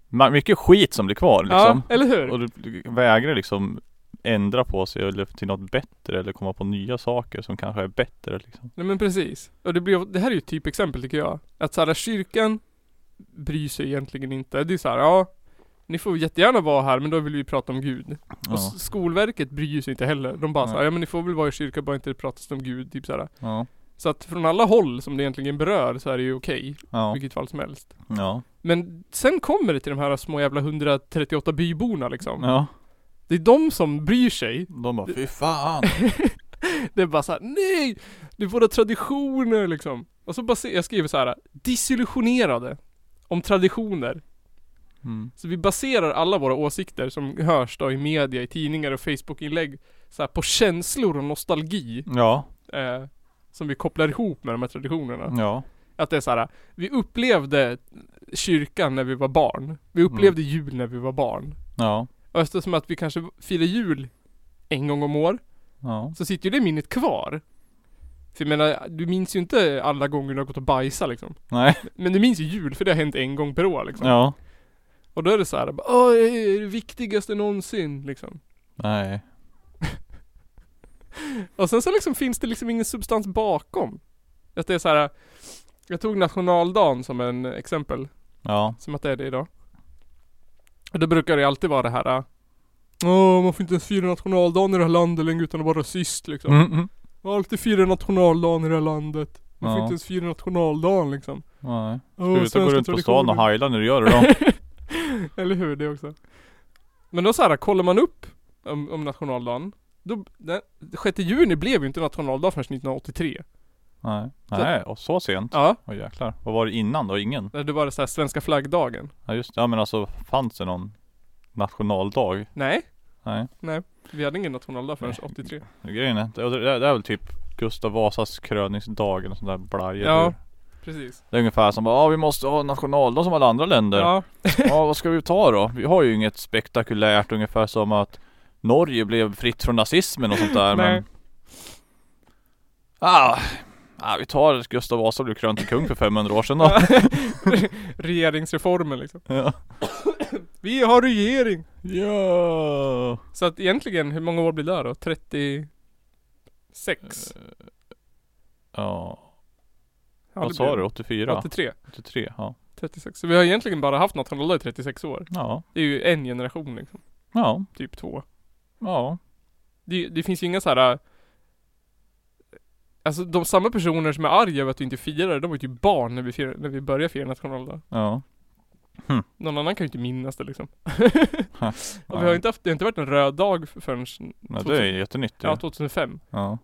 Speaker 3: ma- mycket skit som blir kvar liksom.
Speaker 2: Ja, eller hur?
Speaker 3: Och du- du vägrar liksom ändra på sig eller till något bättre eller komma på nya saker som kanske är bättre liksom.
Speaker 2: Nej men precis. Och det, blir, det här är ju ett typexempel tycker jag. Att såhär, kyrkan bryr sig egentligen inte. Det är såhär, ja. Ni får jättegärna vara här men då vill vi prata om Gud. Och
Speaker 3: Ja.
Speaker 2: s- Skolverket bryr sig inte heller. De bara
Speaker 3: Nej.
Speaker 2: såhär, ja men ni får väl vara i kyrkan bara inte pratas om Gud. Typ såhär.
Speaker 3: Ja.
Speaker 2: Så att från alla håll som det egentligen berör så är det ju okej.
Speaker 3: Ja.
Speaker 2: Vilket fall som helst.
Speaker 3: Ja.
Speaker 2: Men sen kommer det till de här små jävla 138 byborna liksom.
Speaker 3: Ja.
Speaker 2: Det är de som bryr sig.
Speaker 3: De bara fy fan.
Speaker 2: Det är bara såhär, nej! Det är våra traditioner liksom. Och så bara, se- jag skriver så här: disillusionerade om traditioner.
Speaker 3: Mm.
Speaker 2: Så vi baserar alla våra åsikter som hörs då i media, i tidningar och Facebookinlägg så här, på känslor och nostalgi
Speaker 3: Ja.
Speaker 2: eh, som vi kopplar ihop med de här traditionerna.
Speaker 3: Ja.
Speaker 2: Att det är så här, vi upplevde kyrkan när vi var barn. Vi upplevde jul när vi var barn.
Speaker 3: Ja.
Speaker 2: Och eftersom att vi kanske firar jul en gång om år
Speaker 3: Ja.
Speaker 2: så sitter ju det minnet kvar. För jag menar, du minns ju inte alla gånger du har gått och bajsat liksom.
Speaker 3: Nej.
Speaker 2: Men du minns ju jul, för det har hänt en gång per år liksom.
Speaker 3: Ja.
Speaker 2: Och då är det så här, bara, åh, jag är det viktigaste någonsin liksom.
Speaker 3: Nej.
Speaker 2: Och sen så liksom finns det liksom ingen substans bakom. Att det är så här. Jag tog nationaldagen som en exempel.
Speaker 3: Ja.
Speaker 2: Som att det är det idag. Och då brukar det alltid vara det här. äh, Åh, man får inte ens fira nationaldagen i det här landet längre utan att vara rasist liksom.
Speaker 3: Mm, mm.
Speaker 2: Man har alltid firat nationaldagen i det här landet. Man får
Speaker 3: Ja.
Speaker 2: inte ens fira nationaldagen liksom.
Speaker 3: Nej.
Speaker 2: Åh,
Speaker 3: Sluta gå
Speaker 2: svenska
Speaker 3: runt på stan och
Speaker 2: traditioner.
Speaker 3: heila när du gör det då.
Speaker 2: Eller hur, det också. Men då så här, kollar man upp om, om nationaldagen. Då, den, 6 juni blev ju inte nationaldag förrän 1983.
Speaker 3: Nej. Nej, och så sent.
Speaker 2: Ja,
Speaker 3: Åh jäklar. Vad var det innan då? Ingen?
Speaker 2: det var det så här svenska flaggdagen.
Speaker 3: Ja just det. Ja men alltså fanns det någon nationaldag?
Speaker 2: Nej,
Speaker 3: Nej.
Speaker 2: vi hade ingen nationaldag förrän 83.
Speaker 3: Grejen är, det, det, det är väl typ Gustav Vasas kröningsdag eller sån där blaj.
Speaker 2: Ja.
Speaker 3: eller?
Speaker 2: Precis.
Speaker 3: Det är ungefär som bara, ja vi måste ha nationaldag som alla andra länder. Ja.
Speaker 2: Ja,
Speaker 3: vad ska vi ta då? Vi har ju inget spektakulärt ungefär som att Norge blev fritt från nazismen och sånt där
Speaker 2: Nej.
Speaker 3: men... Ah, ah, vi tar Gustav Vasa blev krönt till kung för 500 år sedan då.
Speaker 2: regeringsreformen liksom.
Speaker 3: ja.
Speaker 2: Vi har regering!
Speaker 3: ja.
Speaker 2: Så att egentligen, hur många år blir det då? 36?
Speaker 3: Ja,
Speaker 2: Ja,
Speaker 3: vad
Speaker 2: det
Speaker 3: sa
Speaker 2: blir
Speaker 3: du?
Speaker 2: det.
Speaker 3: 84?
Speaker 2: 83.
Speaker 3: 83, ja.
Speaker 2: 36. Så vi har egentligen bara haft nationaldag i 36 år.
Speaker 3: Ja,
Speaker 2: Det är ju en generation liksom.
Speaker 3: ja,
Speaker 2: Typ två.
Speaker 3: ja.
Speaker 2: Det, det finns ju inga så här. äh, Alltså de samma personer som är arga över att vi inte firar det, de var ju typ barn när vi, firar, när vi började fira nationaldag.
Speaker 3: ja.
Speaker 2: Någon annan kan ju inte minnas det liksom. Och vi har
Speaker 3: Nej.
Speaker 2: ju inte haft, det har inte varit en röd dag förrän
Speaker 3: Nej, det är ju jättenytt
Speaker 2: ja,
Speaker 3: ju.
Speaker 2: 2005.
Speaker 3: Ja.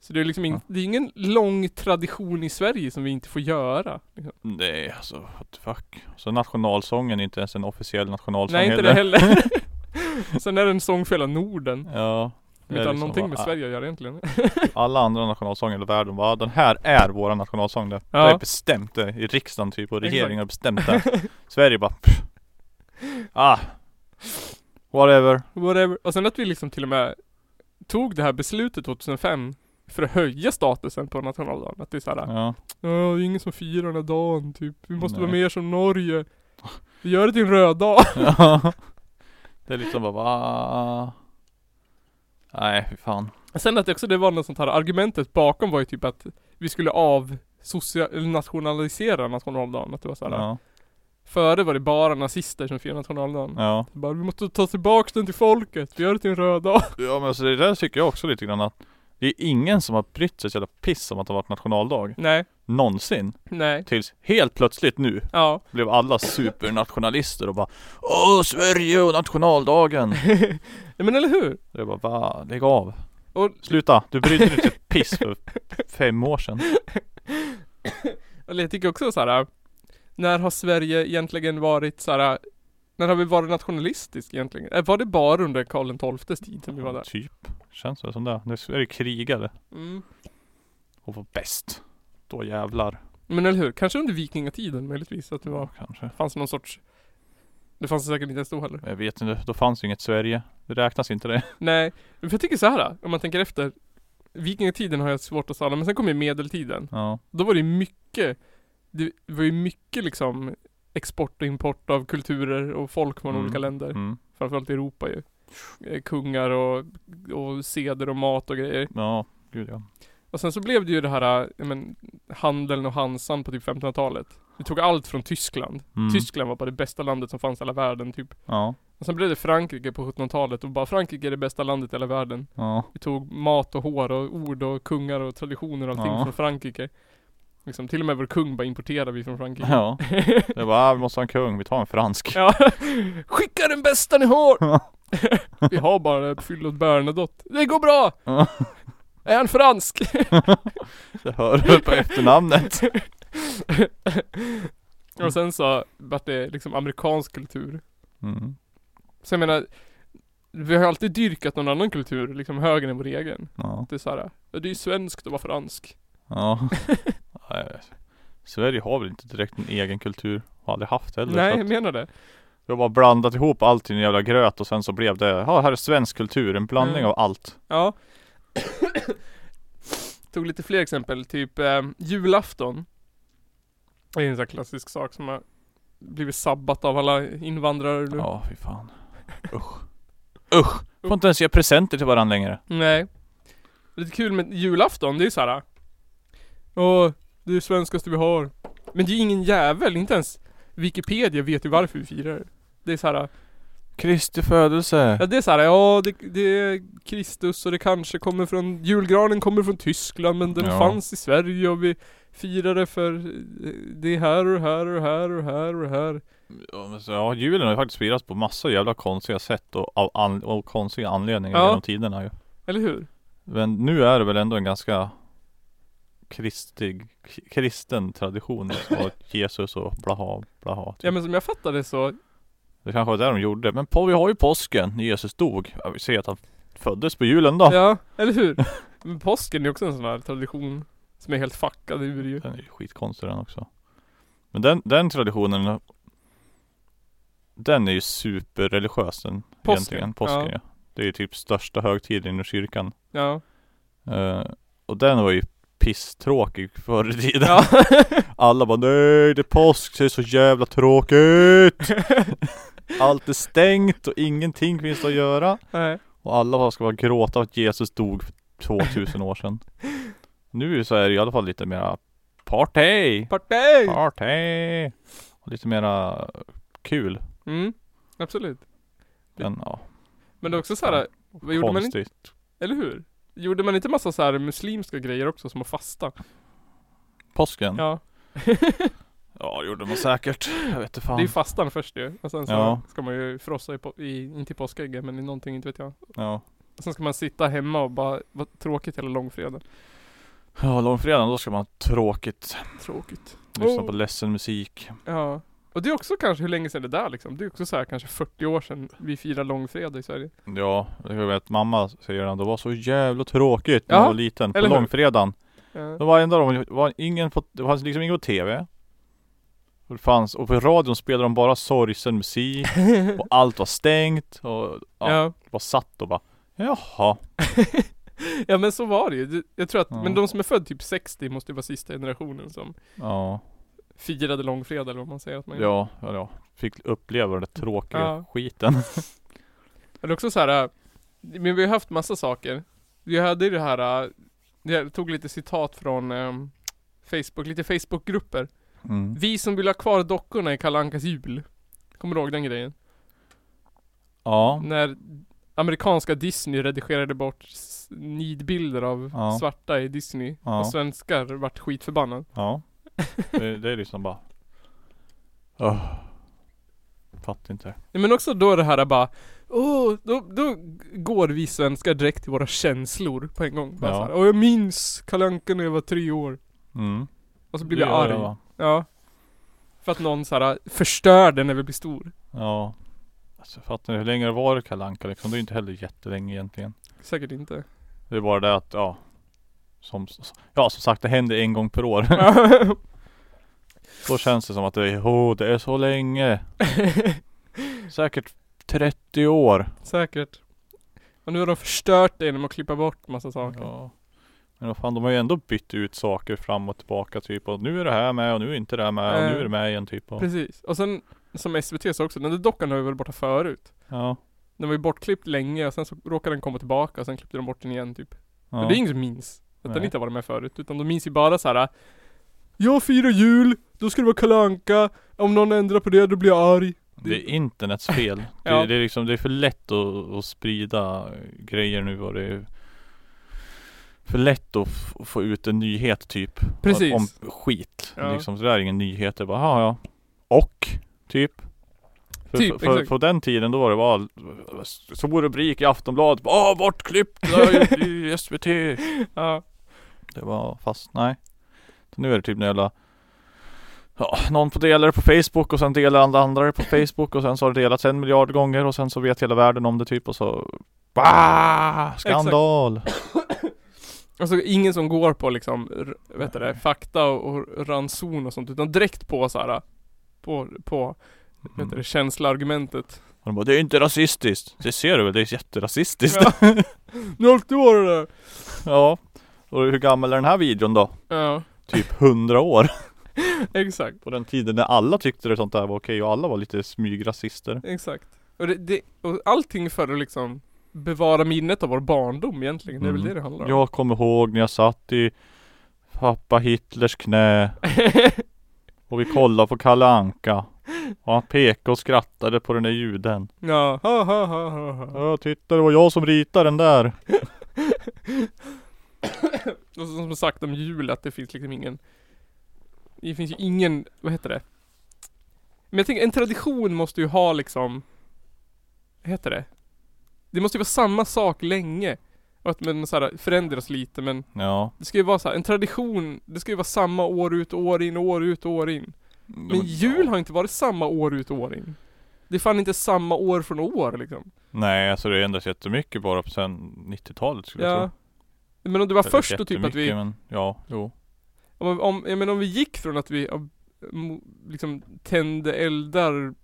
Speaker 2: Så det är liksom in,
Speaker 3: Ja.
Speaker 2: det är ingen lång tradition i Sverige som vi inte får göra. Liksom.
Speaker 3: Nej alltså, what the fuck. Så nationalsången är inte ens en officiell nationalsång
Speaker 2: Nej inte
Speaker 3: heller.
Speaker 2: det heller. Sen är det en sång för hela Norden.
Speaker 3: Ja. det är
Speaker 2: Utan
Speaker 3: liksom
Speaker 2: någonting
Speaker 3: bara,
Speaker 2: med
Speaker 3: ah,
Speaker 2: Sverige att göra egentligen.
Speaker 3: Alla andra nationalsånger i världen bara, den här är vår nationalsång det.
Speaker 2: Ja.
Speaker 3: Det är bestämt det i riksdagen typ och
Speaker 2: Exakt.
Speaker 3: regeringen har bestämt det. Sverige bara pff. Ah. Whatever.
Speaker 2: Whatever. Och sen att vi liksom till och med tog det här beslutet 2005 för att höja statusen på nationaldagen. Att det är såhär,
Speaker 3: Ja.
Speaker 2: ja det är ingen som firar den här dagen typ. Vi måste
Speaker 3: Nej.
Speaker 2: vara mer som Norge. Vi gör det till en röd dag.
Speaker 3: Ja. det är liksom bara va? Nej fy fan.
Speaker 2: Sen att det också det var något sånt här argumentet bakom var ju typ att vi skulle av nationalisera nationaldagen. Att det var såhär,
Speaker 3: Ja.
Speaker 2: före var det bara nazister som firade nationaldagen.
Speaker 3: Ja.
Speaker 2: Bara, vi måste ta tillbaka den till folket, vi gör det till en röd dag.
Speaker 3: ja men så det där tycker jag också lite grann att det är ingen som har brytt sig så jävla piss om att det har varit nationaldag.
Speaker 2: Nej,
Speaker 3: Någonsin.
Speaker 2: nej,
Speaker 3: Tills helt plötsligt nu
Speaker 2: ja.
Speaker 3: blev alla supernationalister och bara Åh Sverige och nationaldagen!
Speaker 2: Ja, Men eller hur?
Speaker 3: Det är bara va? Lägg av!
Speaker 2: Och,
Speaker 3: Sluta! Du brydde dig inte ett piss för fem år sedan.
Speaker 2: och jag tycker också så här. äh, när har Sverige egentligen varit så här. äh, när har vi varit nationalistisk egentligen? Eh, Var det bara under Karl XIIs tid som vi var där?
Speaker 3: Typ. Känns det som det. Nu är det krigare
Speaker 2: Mm.
Speaker 3: och var bäst. Då jävlar.
Speaker 2: Men eller hur? Kanske under vikingatiden möjligtvis, att det var,
Speaker 3: Kanske.
Speaker 2: fanns någon sorts det fanns det säkert inte ens då heller.
Speaker 3: Men Jag vet inte. Då fanns ju inget Sverige. Det räknas inte det.
Speaker 2: Nej, för jag tycker så här. äh, om man tänker efter. Vikingatiden har jag svårt att säga, men sen kom ju medeltiden.
Speaker 3: Ja.
Speaker 2: Då var det ju mycket Det var ju mycket liksom Export och import av kulturer och folk från
Speaker 3: Mm.
Speaker 2: olika länder
Speaker 3: Mm.
Speaker 2: Framförallt i Europa ju Eh, Kungar och, och seder och mat och grejer
Speaker 3: Ja. Gud ja.
Speaker 2: Och sen så blev det ju det här eh, ja, men, Handeln och Hansan på typ 1500-talet Vi tog allt från Tyskland
Speaker 3: Mm.
Speaker 2: Tyskland var bara det bästa landet som fanns i hela världen typ
Speaker 3: Ja.
Speaker 2: Och sen blev det Frankrike på 1700-talet och bara Frankrike är det bästa landet i hela världen
Speaker 3: Ja.
Speaker 2: vi tog mat och hår och ord och kungar och traditioner och allting
Speaker 3: Ja.
Speaker 2: från Frankrike. Liksom till och med vår kung bara importerade vi från Frankrike. Ja.
Speaker 3: Ja. Det var ah, vi måste ha en kung. Vi tar en fransk.
Speaker 2: Skicka den bästa ni har! vi har bara ett fyllot Bernadotte. Det går bra!
Speaker 3: Ja.
Speaker 2: Är han fransk?
Speaker 3: Det hör du på efternamnet.
Speaker 2: och sen så vart det liksom amerikansk kultur.
Speaker 3: Mm.
Speaker 2: Så jag menar, vi har alltid dyrkat någon annan kultur liksom högre än vår egen.
Speaker 3: Ja.
Speaker 2: Det är såhär, det är ju svenskt att vara fransk.
Speaker 3: Ja. Nej. Sverige har väl inte direkt en egen kultur. Har aldrig haft heller.
Speaker 2: Nej,
Speaker 3: så
Speaker 2: jag
Speaker 3: att
Speaker 2: menar det.
Speaker 3: Vi har bara blandat ihop allt i en jävla gröt och sen så blev det, ja här är svensk kultur, en blandning
Speaker 2: Mm.
Speaker 3: av allt.
Speaker 2: Ja. Tog lite fler exempel, typ eh, julafton. Det är en sån här klassisk sak som har blivit sabbat av alla invandrare nu.
Speaker 3: Ja, fy fan. Usch. Usch! Får inte ens ge presenter till varandra längre.
Speaker 2: Nej. Lite kul med julafton, det är ju såhär. Ja, det är det svenskaste vi har. Men det är ju ingen jävel, inte ens Wikipedia vet ju varför vi firar det. Det är såhär,
Speaker 3: Kristi födelse.
Speaker 2: ja det är såhär, ja det, det är Kristus och det kanske kommer från, julgranen kommer från Tyskland men den
Speaker 3: Ja.
Speaker 2: fanns i Sverige och vi firade för eh, det här och här och här och här och här.
Speaker 3: Ja, men så- Ja, julen har ju faktiskt firats på massa jävla konstiga sätt och av an- och konstiga anledningar
Speaker 2: Ja.
Speaker 3: genom tiderna ju.
Speaker 2: Eller hur?
Speaker 3: Men nu är det väl ändå en ganska kristig, k- kristen tradition av Jesus och blaha, blaha. Typ.
Speaker 2: Ja men som jag fattade så,
Speaker 3: Det kanske var det de gjorde. Men på, vi har ju påsken när Jesus dog. Ja, vi ser att han föddes på julen då.
Speaker 2: ja, eller hur? Men påsken är också en sån här tradition som är helt fuckad ur ju.
Speaker 3: Den är ju skitkonstig den också. Men den, den traditionen Den är ju superreligiös den
Speaker 2: Påsken,
Speaker 3: egentligen. Påsken
Speaker 2: ja.
Speaker 3: ja. Det är ju typ största högtiden inom kyrkan.
Speaker 2: Ja.
Speaker 3: Eh, och den var ju pisstråkig förr i tiden.
Speaker 2: Ja.
Speaker 3: Alla bara nej det är påsk, det är så jävla tråkigt. Allt är stängt och ingenting finns att göra.
Speaker 2: Nej.
Speaker 3: Och alla bara ska bara gråta att Jesus dog för 2000 år sedan. Nu så är det i alla fall lite mera party!
Speaker 2: Partaj!
Speaker 3: Party! Och lite mera kul.
Speaker 2: Mm, absolut.
Speaker 3: Men ja,
Speaker 2: Men det är också så här, vad gjorde man inte?
Speaker 3: konstigt.
Speaker 2: Eller hur? Gjorde man inte massa så här muslimska grejer också som att fasta?
Speaker 3: Påsken? Ja.
Speaker 2: Ja.
Speaker 3: det gjorde man säkert. Jag vet inte fan.
Speaker 2: Det är ju fastan först ju. Och sen så
Speaker 3: Ja.
Speaker 2: ska man ju frossa i, på, i inte i påskägget men i någonting, inte vet jag.
Speaker 3: Ja.
Speaker 2: Och sen ska man sitta hemma och bara, vad tråkigt hela långfredagen.
Speaker 3: Ja, långfredagen då ska man ha tråkigt.
Speaker 2: Tråkigt.
Speaker 3: Lyssna
Speaker 2: Oh.
Speaker 3: på ledsen musik.
Speaker 2: Ja. Och det är också kanske, hur länge sedan är det där liksom? Det är också så här kanske 40 år sedan vi firar långfredag i Sverige.
Speaker 3: Ja, jag vet mamma säger att det var så jävla tråkigt när
Speaker 2: Ja,
Speaker 3: jag var liten. På
Speaker 2: eller hur?
Speaker 3: långfredagen. Det
Speaker 2: Ja.
Speaker 3: var enda de, det var ingen på, det fanns liksom ingen på TV. Och det fanns, och på radion spelade de bara sorgsen musik. Och allt var stängt. Och ja,
Speaker 2: ja.
Speaker 3: bara satt och bara Jaha.
Speaker 2: Ja men så var det ju. Det- Jag tror att,
Speaker 3: Ja.
Speaker 2: men de som är född typ 60 måste ju vara sista generationen som
Speaker 3: Ja,
Speaker 2: firade långfredag eller vad man säger att man gör.
Speaker 3: ja, ja, ja. Fick uppleva den där tråkiga
Speaker 2: Ja.
Speaker 3: skiten.
Speaker 2: Eller också så här. äh, men vi har haft massa saker. Vi hade ju det här, äh, jag tog lite citat från ehm, Facebook, lite Facebookgrupper.
Speaker 3: Mm.
Speaker 2: Vi som vill ha kvar dockorna i Kalle Ankas jul. Kommer du ihåg den grejen?
Speaker 3: Ja.
Speaker 2: När amerikanska Disney redigerade bort s- nidbilder av
Speaker 3: Ja.
Speaker 2: svarta i Disney.
Speaker 3: Ja.
Speaker 2: Och svenskar vart skitförbannade.
Speaker 3: Ja. Det, det är liksom bara... Oh. Fattar inte.
Speaker 2: Nej, Men också då det här bara, åh, då, då går vi svenskar direkt till våra känslor på en gång. Bara
Speaker 3: Ja.
Speaker 2: så här, åh jag minns Kalle Anka när jag var tre år.
Speaker 3: Mm.
Speaker 2: Och så blir vi
Speaker 3: Det gör
Speaker 2: arg.
Speaker 3: jag, va?
Speaker 2: Ja. För att någon så här förstörde när vi blir stor.
Speaker 3: Ja. Alltså jag fattar hur länge det var Kalle Anka liksom. Det är ju inte heller jättelänge egentligen.
Speaker 2: Säkert inte.
Speaker 3: Det är bara det att ja. Som, ja som sagt det händer en gång per år. Då känns det som att det är, oh, det är så länge. Säkert 30 år.
Speaker 2: Säkert. Och nu har de förstört det genom att klippa bort massa saker.
Speaker 3: Ja. Men vad fan de har ju ändå bytt ut saker fram och tillbaka typ. Och nu är det här med och nu är inte det här med. Och
Speaker 2: Eh.
Speaker 3: nu är det med igen typ. Och,
Speaker 2: Precis. Och sen, som SVT sa också, den där dockan har vi varit borta förut.
Speaker 3: ja.
Speaker 2: Den var ju bortklippt länge och sen så råkade den komma tillbaka och sen klippte de bort den igen typ.
Speaker 3: ja.
Speaker 2: Men det är ingen som minns att den
Speaker 3: Nej.
Speaker 2: inte har varit med förut. Utan de minns ju bara så här. Jag firar jul, då ska det vara Kalle Anka. Om någon ändrar på det, då blir jag arg.
Speaker 3: Det är internets fel.
Speaker 2: Ja.
Speaker 3: det, det, är liksom, det är för lätt att, att sprida grejer nu och det är för lätt att f- få ut en nyhet typ.
Speaker 2: Precis.
Speaker 3: Om skit.
Speaker 2: Ja.
Speaker 3: Liksom, så det där är ingen nyhet. Det är bara, "Jaha, ja. Och, typ. För,
Speaker 2: Typ,
Speaker 3: för, för
Speaker 2: exakt.
Speaker 3: på den tiden då var det bara stor rubrik i Aftonbladet. Åh, bortklippt där i, i SVT.
Speaker 2: Ja.
Speaker 3: Det var, fast nej. Så nu är det typ en jävla Ja, någon får dela det på Facebook och sen delar alla andra det på Facebook och sen så har det delats en miljard gånger och sen så vet hela världen om det typ och så bah, Skandal!
Speaker 2: Alltså ingen som går på liksom, r- vet du det, fakta och, och ranson och sånt. Utan direkt på så här. På, på vet du
Speaker 3: Mm.
Speaker 2: det, känsloargumentet.
Speaker 3: Och de bara, det är inte rasistiskt! Det ser du väl, det är jätterasistiskt!
Speaker 2: Ja. Nu har alltid varit det.
Speaker 3: ja. Och hur gammal är den här videon då?
Speaker 2: Ja.
Speaker 3: Typ 100 år!
Speaker 2: Exakt,
Speaker 3: På den tiden när alla tyckte det sånt där var okej och alla var lite smygrasister.
Speaker 2: exakt. Och, det, det, och allting för att liksom bevara minnet av vår barndom egentligen. Det är väl
Speaker 3: Mm.
Speaker 2: det det handlar om.
Speaker 3: Jag kommer ihåg när jag satt i pappa Hitlers knä och vi kollade på Kalle Anka. Och han pekade och skrattade på den där juden.
Speaker 2: ja, ha, ha, ha, ha, ha.
Speaker 3: Ja titta det var jag som ritade den där.
Speaker 2: Och så, som sagt om jul att det finns liksom ingen Det finns ju ingen, vad heter det? Men jag tänker en tradition måste ju ha liksom Vad heter det? Det måste ju vara samma sak länge Och att man så här förändras lite men
Speaker 3: Ja.
Speaker 2: Det ska ju vara så här, en tradition Det ska ju vara samma år ut och år in, år ut och år in Men jul har inte varit samma år ut och år in Det är fan inte samma år från år liksom
Speaker 3: Nej alltså det ändras jättemycket bara sen 90-talet skulle jag
Speaker 2: Ja
Speaker 3: tro.
Speaker 2: Men om det var
Speaker 3: Eller
Speaker 2: först då typ att vi
Speaker 3: jättemycket, Men, ja, jo.
Speaker 2: Om, om, jag menar om vi gick från att vi ja, mo- liksom tände eldar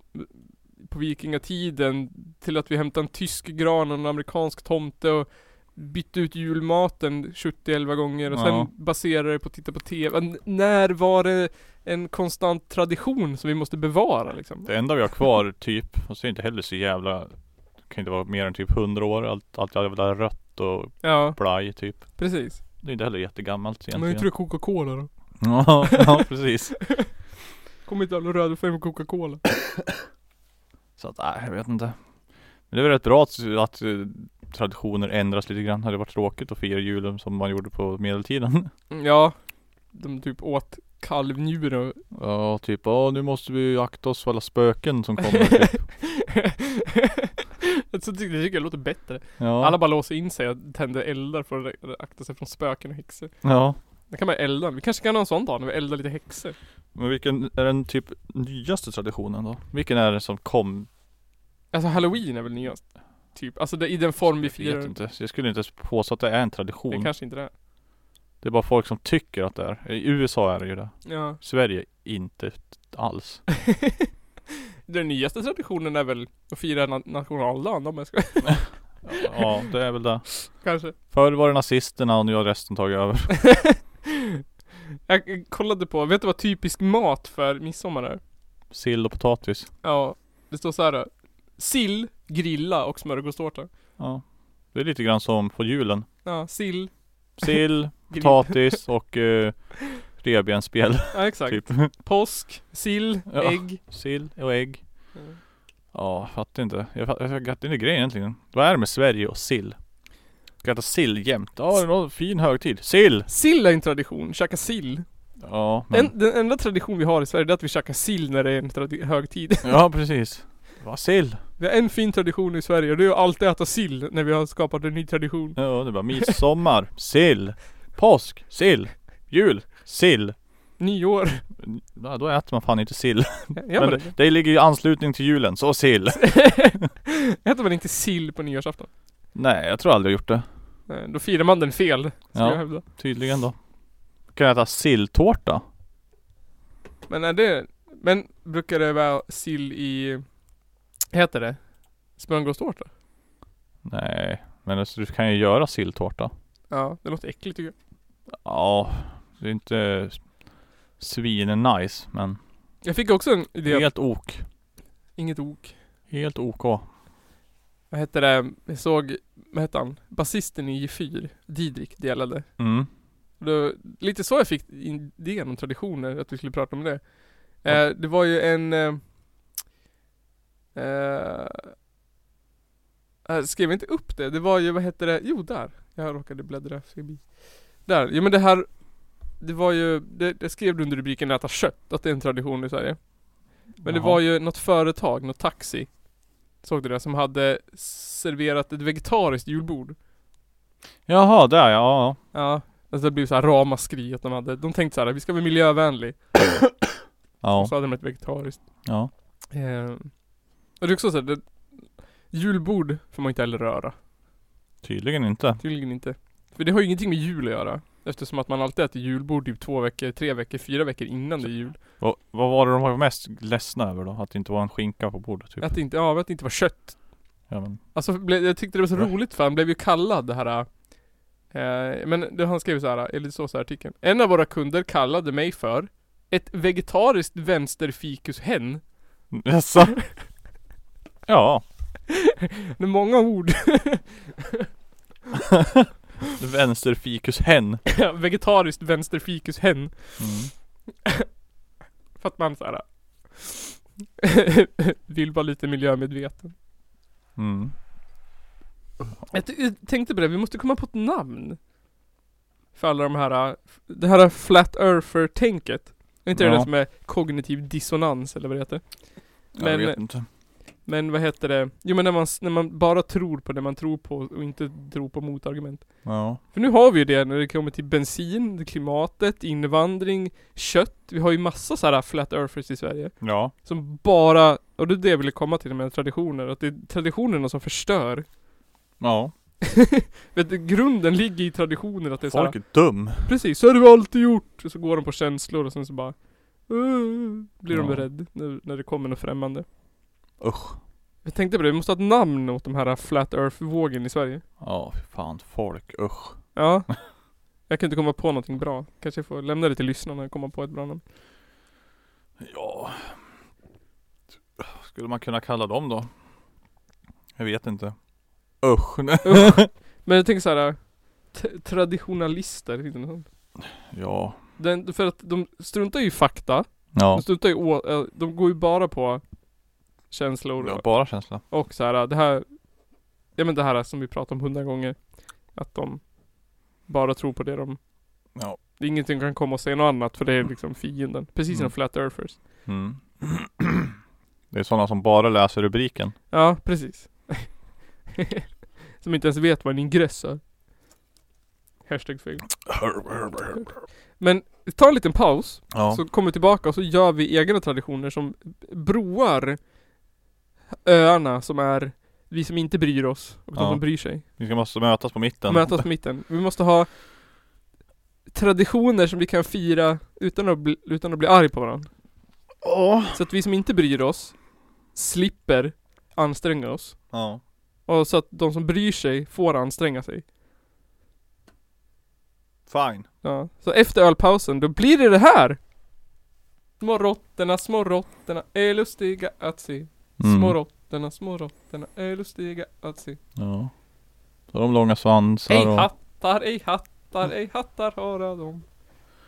Speaker 2: på vikingatiden till att vi hämtade en tysk gran och en amerikansk tomte och bytte ut julmaten 70-11 gånger och
Speaker 3: Ja.
Speaker 2: sen baserade det på att titta på TV. N- när var det en konstant tradition som vi måste bevara liksom?
Speaker 3: Det enda vi har kvar typ, och så är det inte heller så jävla kan inte vara mer än typ 100 år, allt, allt jävla rött och
Speaker 2: Ja,
Speaker 3: blaj typ.
Speaker 2: precis.
Speaker 3: Det är inte heller jättegammalt
Speaker 2: Men
Speaker 3: egentligen.
Speaker 2: inte det Coca-Cola då?
Speaker 3: Ja, ja precis.
Speaker 2: Kommer inte alla rödfärg på Coca-Cola?
Speaker 3: Så att, nej, jag vet inte. Men det är väl rätt bra att, att eh, traditioner ändras lite grann. Det hade varit tråkigt att fira julen som man gjorde på medeltiden.
Speaker 2: Ja. De typ åt kalvnjure och
Speaker 3: Ja, typ, ja nu måste vi akta oss för alla spöken som kommer. Typ.
Speaker 2: jag tycker, jag tycker det låter bättre.
Speaker 3: Ja.
Speaker 2: Alla bara låser in sig och tänder eldar för att akta sig från spöken och häxor.
Speaker 3: ja.
Speaker 2: Det kan man elda. Vi kanske kan ha en sån dag när vi eldar lite häxor.
Speaker 3: Men vilken är den typ nyaste traditionen då? Vilken är det som kom?
Speaker 2: Alltså halloween är väl nyast? Typ, alltså det, i den form vi
Speaker 3: Jag
Speaker 2: firar.
Speaker 3: vet inte. Så jag skulle inte ens påstå att det är en tradition.
Speaker 2: Det kanske inte det är.
Speaker 3: Det är bara folk som tycker att det är. I USA är det ju det.
Speaker 2: Ja.
Speaker 3: Sverige inte alls.
Speaker 2: Den nyaste traditionen är väl att fira na- nationaldagen om jag ska
Speaker 3: Ja, det är väl det.
Speaker 2: kanske.
Speaker 3: Förr var det nazisterna och nu har resten tagit över.
Speaker 2: jag kollade på, vet du vad typisk mat för midsommar är?
Speaker 3: Sill och potatis.
Speaker 2: Ja, det står så här. då. Sill, grilla och smörgåstårta.
Speaker 3: Ja. Det är lite grann som på julen.
Speaker 2: Ja, sill,
Speaker 3: Sill,
Speaker 2: grilla.
Speaker 3: potatis och eh, revbensspjäll
Speaker 2: Ja exakt.
Speaker 3: typ.
Speaker 2: Påsk, sill,
Speaker 3: Ja.
Speaker 2: ägg.
Speaker 3: Sill och ägg.
Speaker 2: Ja.
Speaker 3: Ja, jag fattar inte. Jag fattar, jag fattar inte grejen egentligen. Vad är det med Sverige och sill? Ska äta sill jämt. Ja, det är någon fin högtid. Sill!
Speaker 2: Sill är en tradition, käka sill.
Speaker 3: Ja, men...
Speaker 2: En, den enda tradition vi har i Sverige det är att vi käkar sill när det är en tradi- högtid.
Speaker 3: Ja, precis. Va, sill?
Speaker 2: Vi har en fin tradition i Sverige och det är att alltid äta sill när vi har skapat en ny tradition.
Speaker 3: Ja, det är bara midsommar. Sill. Påsk. Sill. Jul. Sill.
Speaker 2: Nyår.
Speaker 3: Ja, då äter man fan inte sill.
Speaker 2: Jag
Speaker 3: men
Speaker 2: men...
Speaker 3: det, det ligger ju i anslutning till julen, så sill.
Speaker 2: Äter man inte sill på nyårsafton?
Speaker 3: Nej, jag tror aldrig jag gjort det.
Speaker 2: Nej, Då firar man den fel, ska
Speaker 3: Ja.
Speaker 2: jag hävda.
Speaker 3: Tydligen då. Kan jag äta silltårta?
Speaker 2: Men är det... Men brukar det vara sill i... Heter det? Smörgåstårta?
Speaker 3: Nej, men alltså, du kan ju göra silltårta.
Speaker 2: Ja, det låter äckligt tycker jag.
Speaker 3: Ja, det är inte svin-nice, men
Speaker 2: Jag fick också en idé.
Speaker 3: helt ok.
Speaker 2: Inget ok.
Speaker 3: Helt ok.
Speaker 2: Vad hette det? Jag såg, vad hette han? Basisten i G4, Didrik, delade.
Speaker 3: Mm.
Speaker 2: Då, lite så jag fick idén om traditioner, att vi skulle prata om det. Eh, det var ju en... Eh, eh, jag skrev inte upp det, det var ju, vad hette det? Jo, där. Jag råkade bläddra förbi. Där, jo men det här Det var ju, det, det skrev du under rubriken äta kött, att det är en tradition i Sverige. Men det
Speaker 3: Jaha.
Speaker 2: var ju något företag, något taxi Såg du det? Som hade serverat ett vegetariskt julbord
Speaker 3: Jaha, där ja, ja.
Speaker 2: Ja Alltså det blev så här ramaskri att de hade, de tänkte så här, vi ska vara miljövänlig
Speaker 3: Ja,
Speaker 2: Så hade de ett vegetariskt
Speaker 3: ja.
Speaker 2: eh, Och det är också så här, det, Julbord får man inte heller röra
Speaker 3: Tydligen inte.
Speaker 2: Tydligen inte För det har ju ingenting med jul att göra Eftersom att man alltid äter julbord typ två veckor, tre veckor, fyra veckor innan det är jul
Speaker 3: Vad, vad var det de var mest ledsna över då? Att det inte var en skinka på bordet typ?
Speaker 2: Att det inte, ja, att det inte var kött
Speaker 3: Ja, men,
Speaker 2: Alltså ble, jag tyckte det var så
Speaker 3: Va?
Speaker 2: roligt för han blev ju kallad det här eh, Men det, han skrev så här, eller det står så här i artikeln En av våra kunder kallade mig för ett vegetariskt vänsterfikushen.
Speaker 3: Jaså? Ja,
Speaker 2: Det är många ord.
Speaker 3: vänsterfikus hen. Mm.
Speaker 2: vegetariskt vänsterfikushen. För att man såhär vill vara lite miljömedveten.
Speaker 3: Mm.
Speaker 2: Jag, t- jag tänkte på det, vi måste komma på ett namn. För alla de här, äh, f- det här flat earther-tänket. Är inte det
Speaker 3: Ja.
Speaker 2: det som är kognitiv dissonans eller vad det heter?
Speaker 3: Jag
Speaker 2: Men,
Speaker 3: vet inte.
Speaker 2: Men vad heter det? Jo men när man, s- när man bara tror på det man tror på och inte tror på motargument.
Speaker 3: Ja.
Speaker 2: För nu har vi ju det när det kommer till bensin, klimatet, invandring, kött. Vi har ju massa så här flat earthers i Sverige.
Speaker 3: Ja.
Speaker 2: Som bara, och det är det jag ville komma till med traditioner, att det är traditionerna som förstör.
Speaker 3: Ja.
Speaker 2: Vet du, grunden ligger i traditioner att det är så här,
Speaker 3: Folk är dum.
Speaker 2: Precis, så har vi alltid gjort! Och så går de på känslor och sen så bara "Uh", Blir de
Speaker 3: Ja.
Speaker 2: rädd när, när det kommer något främmande
Speaker 3: Usch.
Speaker 2: Jag tänkte på det, vi måste ha ett namn åt de här flat earth-vågen i Sverige
Speaker 3: Ja, fy fan. Folk. Usch.
Speaker 2: Ja Jag kan inte komma på någonting bra Kanske jag får lämna det till lyssnarna och komma på ett bra namn
Speaker 3: Ja. Skulle man kunna kalla dem då? Jag vet inte. Usch. Nej.
Speaker 2: Usch. Men jag tänker såhär t- Traditionalister, finns det något sånt?
Speaker 3: Ja.
Speaker 2: Den, för att de struntar ju i fakta
Speaker 3: Ja.
Speaker 2: De struntar ju å, eh, de går ju bara på Känslor
Speaker 3: ja
Speaker 2: och,
Speaker 3: bara känsla.
Speaker 2: och så här, eh, det här Ja men det här som vi pratat om hundra gånger Att de Bara tror på det de
Speaker 3: Ja.
Speaker 2: det är Ingenting kan komma och säga något annat för det är liksom fienden Precis som
Speaker 3: Mm.
Speaker 2: flat earthers
Speaker 3: Mm. Det är sådana som bara läser rubriken.
Speaker 2: Ja precis Som inte ens vet vad en ingress är Hashtag fel Men ta en liten paus
Speaker 3: Ja.
Speaker 2: Så kommer vi tillbaka och så gör vi egna traditioner som broar öarna som är vi som inte bryr oss och de
Speaker 3: Ja.
Speaker 2: som bryr sig.
Speaker 3: Vi ska måste mötas på mitten.
Speaker 2: Mötas på mitten. Vi måste ha traditioner som vi kan fira utan att bli, utan att bli arg på varandra.
Speaker 3: Ja.
Speaker 2: Så att vi som inte bryr oss slipper anstränga oss.
Speaker 3: Ja.
Speaker 2: Och så att de som bryr sig får anstränga sig.
Speaker 3: Fine.
Speaker 2: Ja. Så efter ölpausen, då blir det det här! Små råttorna, små råttorna är lustiga att se.
Speaker 3: Mm.
Speaker 2: Mm. Små råttorna, små råttorna är lustiga att se.
Speaker 3: Ja. Så de långa svansar
Speaker 2: Ej
Speaker 3: och
Speaker 2: hattar, ej hattar, ej hattar höra dem.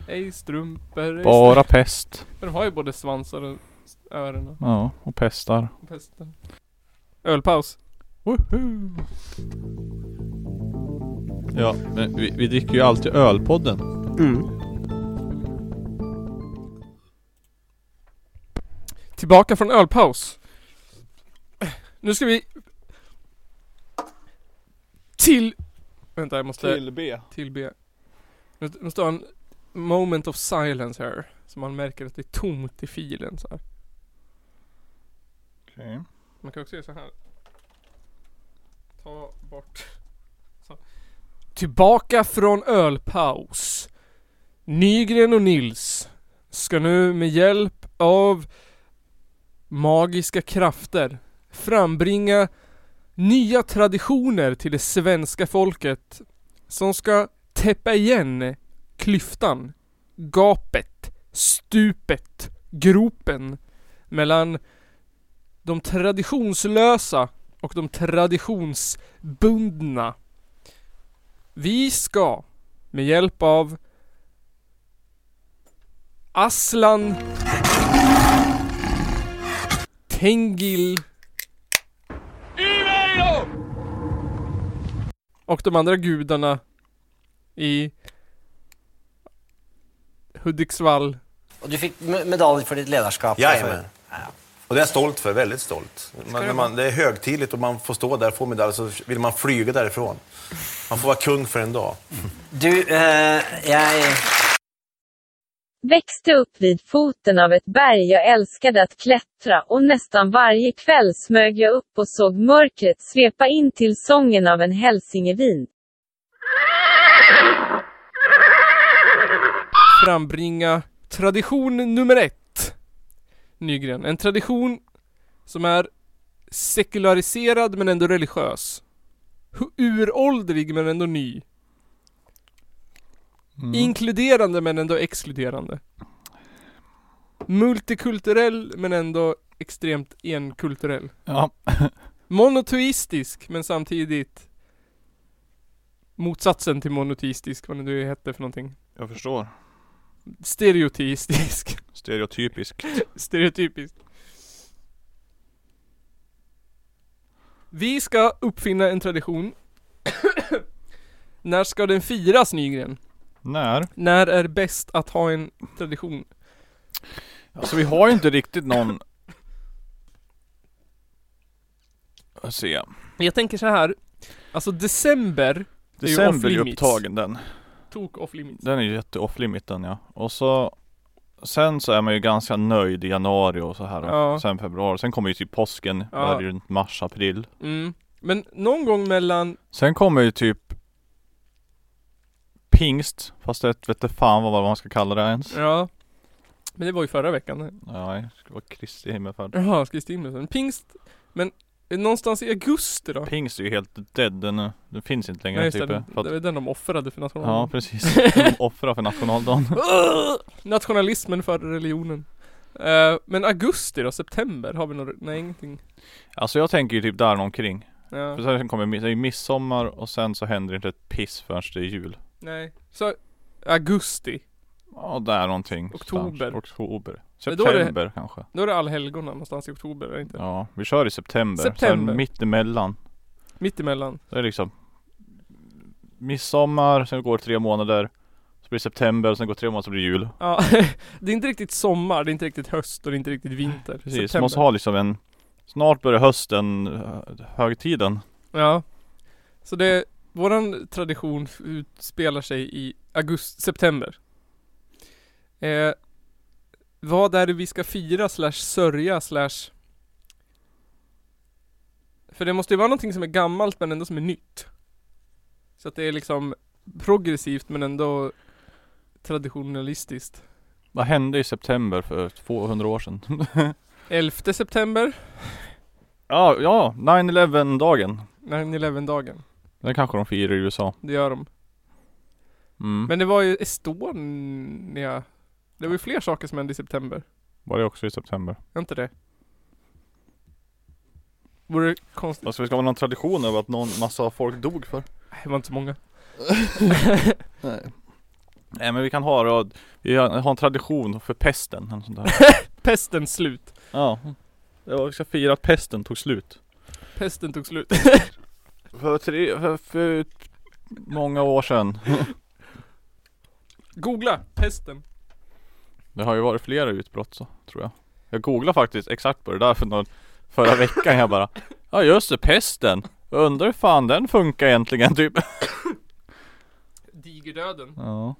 Speaker 2: Ej strumpor, ej
Speaker 3: bara pest.
Speaker 2: strumpor. De har ju både svansar och s- öron och
Speaker 3: Ja, och pestar.
Speaker 2: hästar. Ölpaus.
Speaker 3: Woho!
Speaker 1: Ja, men vi, vi dricker ju alltid ölpodden.
Speaker 2: Tillbaka från ölpaus. Nu ska vi... Till... Vänta jag måste...
Speaker 3: B.
Speaker 2: Till B. Nu nu står en moment of silence här. Så man märker att det är tomt i filen så här.
Speaker 3: Okej.
Speaker 2: Man kan också göra så här. Ta bort. Så. Tillbaka från ölpaus. Nygren och Nils ska nu med hjälp av magiska krafter frambringa nya traditioner till det svenska folket som ska täppa igen klyftan, gapet, stupet, gropen mellan de traditionslösa och de traditionsbundna. Vi ska med hjälp av Aslan Tengil och de andra gudarna i Hudiksvall
Speaker 7: Och du fick me- medalj för ditt ledarskap.
Speaker 8: Jajamän. Och det är jag stolt för, väldigt stolt. Man, när man, det är högtidligt och man får stå där och få medalj så vill man flyga därifrån. Man får vara kung för en dag.
Speaker 7: Du, eh, jag...
Speaker 9: Växte upp vid foten av ett berg jag älskade att klättra och nästan varje kväll smög jag upp och såg mörkret svepa in till sången av en hälsingevin.
Speaker 2: frambringa tradition nummer ett. Nygren. En tradition som är sekulariserad men ändå religiös. Hu- Uråldrig men ändå ny.
Speaker 3: Mm.
Speaker 2: Inkluderande men ändå exkluderande. Multikulturell men ändå extremt enkulturell.
Speaker 3: Ja.
Speaker 2: Monoteistisk men samtidigt motsatsen till monoteistisk, vad det nu hette för någonting.
Speaker 3: Jag förstår.
Speaker 2: Stereoteistisk.
Speaker 3: Stereotypiskt.
Speaker 2: Stereotypiskt. Vi ska uppfinna en tradition. När ska den firas Nygren?
Speaker 3: När?
Speaker 2: När är bäst att ha en tradition?
Speaker 3: Alltså vi har ju inte riktigt någon... Jag se.
Speaker 2: Jag tänker så här. Alltså december, Det är ju
Speaker 3: December är ju
Speaker 2: off-limits.
Speaker 3: upptagen den.
Speaker 2: tok off limits.
Speaker 3: Den är ju jätte off limit den ja. Och så Sen så är man ju ganska nöjd i januari och så här.
Speaker 2: Ja.
Speaker 3: Sen februari. Sen kommer ju typ påsken.
Speaker 2: Ja.
Speaker 3: Där runt mars, april.
Speaker 2: Mm. Men någon gång mellan,
Speaker 3: Sen kommer ju typ Pingst. Fast jag vet inte fan vad man ska kalla det ens.
Speaker 2: ja. Men det var ju förra veckan.
Speaker 3: Nej, det ska vara Kristi himmelfärd.
Speaker 2: Jaha, Kristinmusen. Pingst. Men eh, någonstans i augusti då?
Speaker 3: Pingst är ju helt dead. Den, är- den finns inte längre
Speaker 2: Nej, just
Speaker 3: typ.
Speaker 2: det,
Speaker 3: För
Speaker 2: det
Speaker 3: att,
Speaker 2: var den de offrade för nationalen.
Speaker 3: ja precis. De offrar för nationaldagen.
Speaker 2: Ugh! Nationalismen för religionen. Eh, men augusti då? September? Har vi några? Nej, ingenting.
Speaker 3: Alltså jag tänker ju typ där omkring.
Speaker 2: Ja,
Speaker 3: För sen kommer mi- det är ju midsommar och sen så händer inte ett piss förrän det är jul.
Speaker 2: nej. Så augusti.
Speaker 3: Ja, där någonting.
Speaker 2: Oktober.
Speaker 3: Oktober.
Speaker 2: Men då är det-
Speaker 3: September kanske.
Speaker 2: Då är det allhelgona någonstans i oktober, är det inte?
Speaker 3: Ja, vi kör i september.
Speaker 2: September.
Speaker 3: Sen mittemellan.
Speaker 2: Mittemellan.
Speaker 3: Det är liksom midsommar, sen går det tre månader. Så blir det september, sen går det tre månader så blir det jul.
Speaker 2: Ja, det är inte riktigt sommar, det är inte riktigt höst och det är inte riktigt vinter.
Speaker 3: Precis, man måste ha liksom en Snart börjar hösten, eh, högtiden.
Speaker 2: Ja. Så det, våran tradition f- utspelar sig i augusti, september. Eh, vad är det vi ska fira slash sörja slash För det måste ju vara någonting som är gammalt men ändå som är nytt. Så att det är liksom progressivt men ändå traditionalistiskt.
Speaker 3: Vad hände i september för 200 år sedan?
Speaker 2: 11 september,
Speaker 3: ja, ja, 9-11 dagen.
Speaker 2: 9-11-dagen.
Speaker 3: Den kanske de firar i USA.
Speaker 2: Det gör de.
Speaker 3: Mm.
Speaker 2: Men det var ju Estonia. Det var ju fler saker som hände i september.
Speaker 3: Var det också i september?
Speaker 2: Är inte det? Vore det konstigt?
Speaker 3: Alltså vi ska ha någon tradition över att någon massa folk dog för?
Speaker 2: Nej, det var inte så många.
Speaker 3: Nej. Nej men vi kan ha då, vi har har en tradition för pesten eller sånt där.
Speaker 2: Pestens slut.
Speaker 3: Ja. Det var, vi ska fira att pesten tog slut.
Speaker 2: Pesten tog slut.
Speaker 3: För, tre, för, för många år sedan.
Speaker 2: Googla pesten.
Speaker 3: Det har ju varit flera utbrott så, tror jag. Jag googlade faktiskt exakt på det där för någon, förra veckan. Jag bara, ja just det, pesten. Jag undrar hur fan den funkar egentligen typ.
Speaker 2: Digerdöden.
Speaker 3: Ja.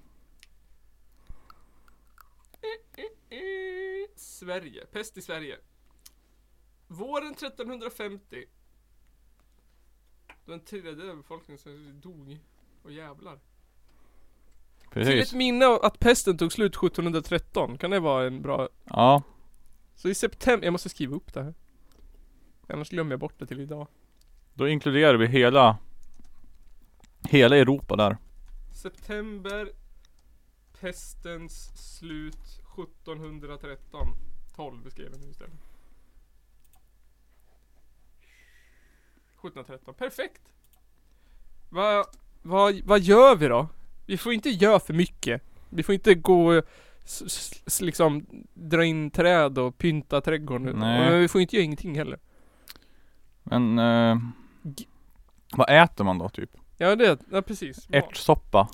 Speaker 2: Eh, Sverige. Pest i Sverige. Våren 1350. Då en tredjedel av befolkningen som dog. Och jävlar. Till ett
Speaker 3: Precis.
Speaker 2: minne av att pesten tog slut 1713. Kan det vara en bra...
Speaker 3: Ja.
Speaker 2: Så i september... Jag måste skriva upp det här. Annars glömmer jag bort det till idag.
Speaker 3: Då inkluderar vi hela Hela Europa där.
Speaker 2: September Pestens slut 1713 12 skrev jag nu istället 1713, perfekt! Vad, vad, vad gör vi då? Vi får inte göra för mycket Vi får inte gå s, s, s, liksom dra in träd och pynta trädgården
Speaker 3: Nej.
Speaker 2: Men vi får inte göra ingenting heller
Speaker 3: Men eh,
Speaker 2: G-
Speaker 3: Vad äter man då typ?
Speaker 2: Ja det, ja precis Mat.
Speaker 3: Ärtsoppa?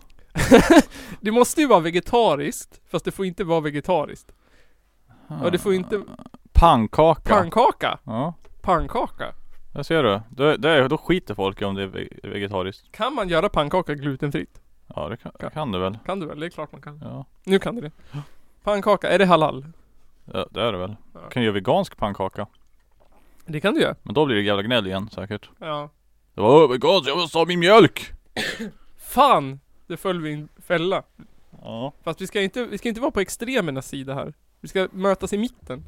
Speaker 2: Det måste ju vara vegetariskt Fast det får inte vara vegetariskt Ja det får ju inte
Speaker 3: Pannkaka?
Speaker 2: Pannkaka?
Speaker 3: ja,
Speaker 2: Pannkaka?
Speaker 3: där ser du. Det, det, då skiter folk i om det är ve- vegetariskt.
Speaker 2: Kan man göra pannkaka glutenfritt?
Speaker 3: Ja det kan, kan du väl?
Speaker 2: Kan du väl? Det är klart man kan.
Speaker 3: Ja,
Speaker 2: Nu kan du det. Pannkaka, är det halal?
Speaker 3: ja det är det väl.
Speaker 2: Ja.
Speaker 3: Du kan ju göra vegansk pannkaka.
Speaker 2: Det kan du göra.
Speaker 3: Men då blir det jävla gnäll igen säkert.
Speaker 2: Ja.
Speaker 3: Det var "Åh, vegansk, jag måste ha min mjölk!
Speaker 2: Fan! Det föll vi i en fälla.
Speaker 3: Ja.
Speaker 2: Fast vi ska inte, vi ska inte vara på extremernas sida här. Vi ska mötas i mitten.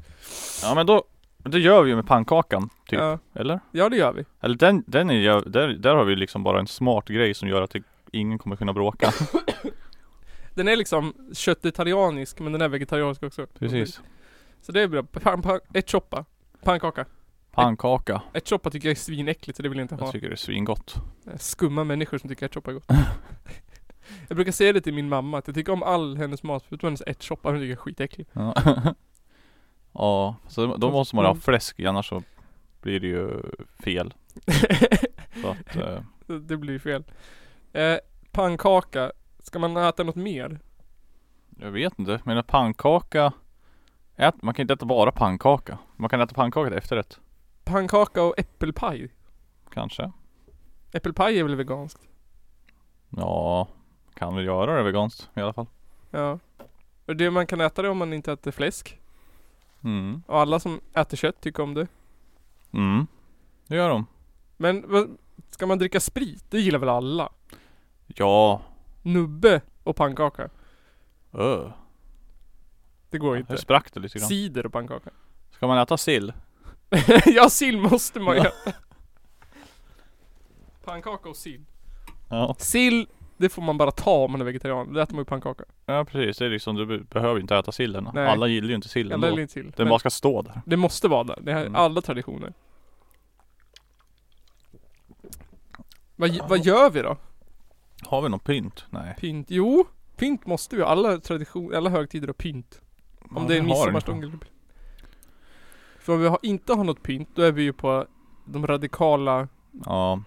Speaker 3: ja men då Det gör vi ju med pannkakan typ.
Speaker 2: Ja,
Speaker 3: Eller?
Speaker 2: ja det gör vi.
Speaker 3: Eller den, den är ju- där, där har vi liksom bara en smart grej som gör att det, ingen kommer kunna bråka.
Speaker 2: Den är liksom köttetarianisk men den är vegetariansk också.
Speaker 3: Precis.
Speaker 2: Så det är bra. Pan, pan, ett choppa. Pannkaka.
Speaker 3: Pannkaka.
Speaker 2: Ett choppa tycker jag är svinäckligt så det vill jag inte ha.
Speaker 3: Jag tycker det är svingott.
Speaker 2: Skumma människor som tycker att choppa är gott. jag brukar säga det till min mamma, att jag tycker om all hennes mat förutom hennes ärtsoppa, hon tycker jag är skitäcklig.
Speaker 3: Ja. ja, så då måste man ha
Speaker 2: Mm.
Speaker 3: fläsk annars så blir det ju fel. Så att, eh,
Speaker 2: det blir fel. Eh, pannkaka, ska man äta något mer?
Speaker 3: jag vet inte, men en pannkaka ät, Man kan inte äta bara pannkaka. Man kan äta pannkaka till efterrätt.
Speaker 2: Pannkaka och äppelpaj?
Speaker 3: Kanske.
Speaker 2: Äppelpaj är väl veganskt?
Speaker 3: Ja, kan väl göra det veganskt i alla fall.
Speaker 2: Ja. Och det man kan äta det om man inte äter fläsk.
Speaker 3: Mm.
Speaker 2: Och alla som äter kött tycker om det.
Speaker 3: Mm. Det gör de.
Speaker 2: Men vad- ska man dricka sprit? Det gillar väl alla?
Speaker 3: Ja.
Speaker 2: Nubbe och pannkaka?
Speaker 3: Öh.
Speaker 2: Det går
Speaker 3: Hur
Speaker 2: inte.
Speaker 3: sprack det lite grann.
Speaker 2: Cider och pannkaka.
Speaker 3: Ska man äta sill?
Speaker 2: ja, sill måste man ju äta. Pannkaka och sill.
Speaker 3: Ja.
Speaker 2: Sill, det får man bara ta om man är vegetarian. Då äter man ju pannkaka.
Speaker 3: Ja precis, det är liksom, du be- behöver inte äta sillen.
Speaker 2: Nej.
Speaker 3: Alla gillar ju inte sillen
Speaker 2: Eller
Speaker 3: då.
Speaker 2: lite sill.
Speaker 3: Den
Speaker 2: Men
Speaker 3: bara ska stå där.
Speaker 2: Det måste vara där. Det här är
Speaker 3: Mm.
Speaker 2: alla traditioner. Vad, ge- vad gör vi då?
Speaker 3: Har vi någon pynt? Nej.
Speaker 2: Pynt? Jo! Pynt måste vi ha. Alla traditioner, alla högtider har pynt. Om det är en midsommarstång eller För om vi har, inte har något pynt, då är vi ju på de radikala
Speaker 3: Ja.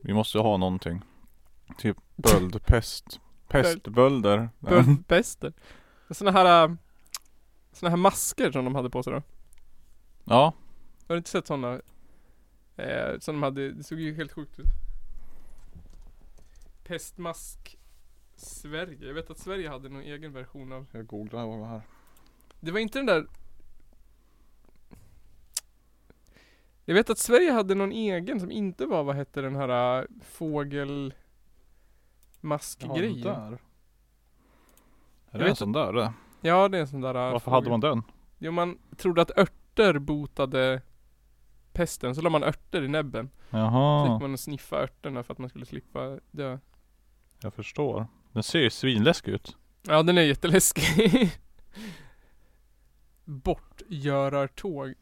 Speaker 3: Vi måste ha någonting. Typ böldpest. Pestbölder.
Speaker 2: böldpester. Såna här, äh, såna här masker som de hade på sig då.
Speaker 3: ja.
Speaker 2: Har du inte sett sådana? Eh, som de hade, det såg ju helt sjukt ut. Pestmask Sverige. Jag vet att Sverige hade någon egen version av.
Speaker 3: Jag googlar vad det här.
Speaker 2: Det var inte den där. Jag vet att Sverige hade någon egen som inte var, vad hette den här äh, fågelmaskgrejen? Ja,
Speaker 3: Är
Speaker 2: Jag
Speaker 3: det
Speaker 2: vet
Speaker 3: en sån där det?
Speaker 2: ja, det är en sån där. äh,
Speaker 3: Varför
Speaker 2: fågel-
Speaker 3: hade man den?
Speaker 2: Jo man trodde att örter botade pesten, så la man örter i näbben. Så
Speaker 3: Jaha.
Speaker 2: gick man och sniffa örterna för att man skulle slippa dö.
Speaker 3: Jag förstår. Den ser ju svinläskig ut.
Speaker 2: Ja den är jätteläskig. Bortgörartåg.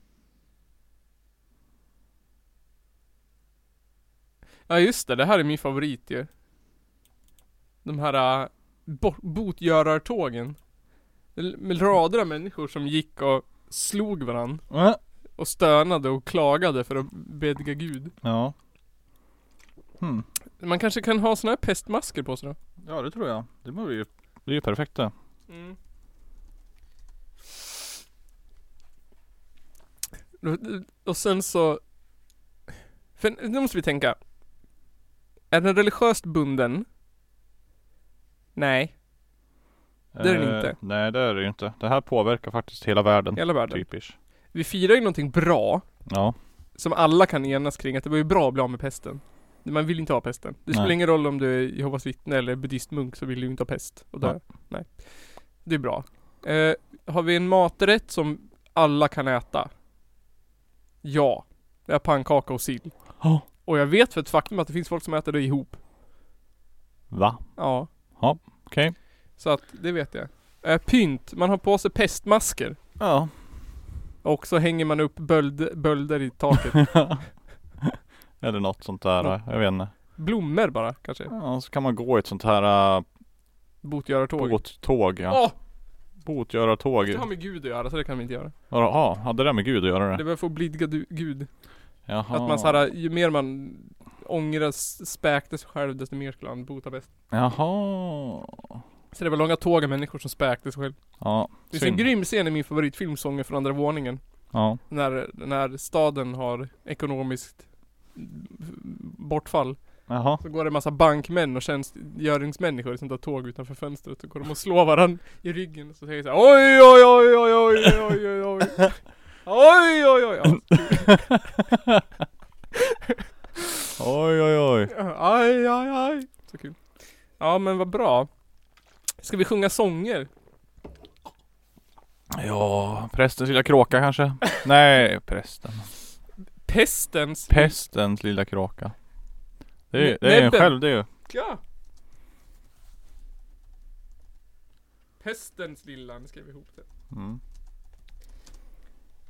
Speaker 2: Ja just det, det här är min favorit ju. De här äh, bort- botgörartågen. Med rader av människor som gick och slog varann.
Speaker 3: Äh.
Speaker 2: Och stönade och klagade för att bedga gud.
Speaker 3: Ja. Hmm.
Speaker 2: Man kanske kan ha såna här pestmasker på sig då?
Speaker 3: Ja det tror jag. Det blir ju, det är ju perfekt det.
Speaker 2: Mm. Och- Och sen så... För nu måste vi tänka. Är den religiöst bunden? Nej, Det är den
Speaker 3: Eh,
Speaker 2: inte.
Speaker 3: Nej det är det ju inte. Det här påverkar faktiskt hela världen.
Speaker 2: hela världen.
Speaker 3: Typiskt.
Speaker 2: Vi firar ju någonting bra,
Speaker 3: Ja.
Speaker 2: som alla kan enas kring, att det var ju bra att bli av med pesten. Man vill inte ha pesten. Det spelar
Speaker 3: Nej.
Speaker 2: ingen roll om du är Jehovas vittne eller buddhistmunk så vill du inte ha pest. Och där. Nej. Det är bra. Eh, har vi en maträtt som alla kan äta? Ja. Det är pannkaka och sill.
Speaker 3: Ja.
Speaker 2: Och jag vet för ett faktum att det finns folk som äter det ihop.
Speaker 3: Va?
Speaker 2: Ja.
Speaker 3: Okej.
Speaker 2: Så att det vet jag. Eh, pynt. Man har på sig pestmasker.
Speaker 3: Ja.
Speaker 2: Och så hänger man upp böld, bölder i taket.
Speaker 3: Eller något sånt där.
Speaker 2: Nå-
Speaker 3: Jag vet inte.
Speaker 2: Blommor bara kanske.
Speaker 3: Ja, så kan man gå i ett sånt här uh,
Speaker 2: Botgörartåg.
Speaker 3: båttåg. Ja.
Speaker 2: Åh!
Speaker 3: Botgörartåg.
Speaker 2: Det har med Gud att göra så det kan vi inte göra.
Speaker 3: Jaha, hade det med Gud att göra
Speaker 2: Det
Speaker 3: det?
Speaker 2: var för att blidga du, Gud.
Speaker 3: Jaha.
Speaker 2: Att man såhär, ju mer man ångrar, s- späkte sig själv desto mer skulle han bota bäst.
Speaker 3: Jaha.
Speaker 2: Så det var långa tåg av människor som späkte sig själv.
Speaker 3: Ja.
Speaker 2: Det finns en grym scen i min favoritfilm Sånger från andra våningen.
Speaker 3: Ja.
Speaker 2: När, när staden har ekonomiskt bortfall.
Speaker 3: Jaha.
Speaker 2: Så går det en massa bankmän och tjänstgöringsmänniskor i sånt där tåg utanför fönstret. Så går de och slår varandra i ryggen. Och så säger de såhär oj oj oj oj oj oj oj oj. Oj oj oj oj.
Speaker 3: Oj oj oj.
Speaker 2: Aj, aj, aj. Så kul. Ja, men vad bra. Ska vi sjunga sånger?
Speaker 3: Ja, prästens lilla kråka kanske? Nej, prästen.
Speaker 2: Pestens...
Speaker 3: Pestens lilla kråka. Det är, det är
Speaker 2: Näbben.
Speaker 3: en själv det är ju.
Speaker 2: Ja. Pestens lilla, nu skrev vi ihop det.
Speaker 3: Mm.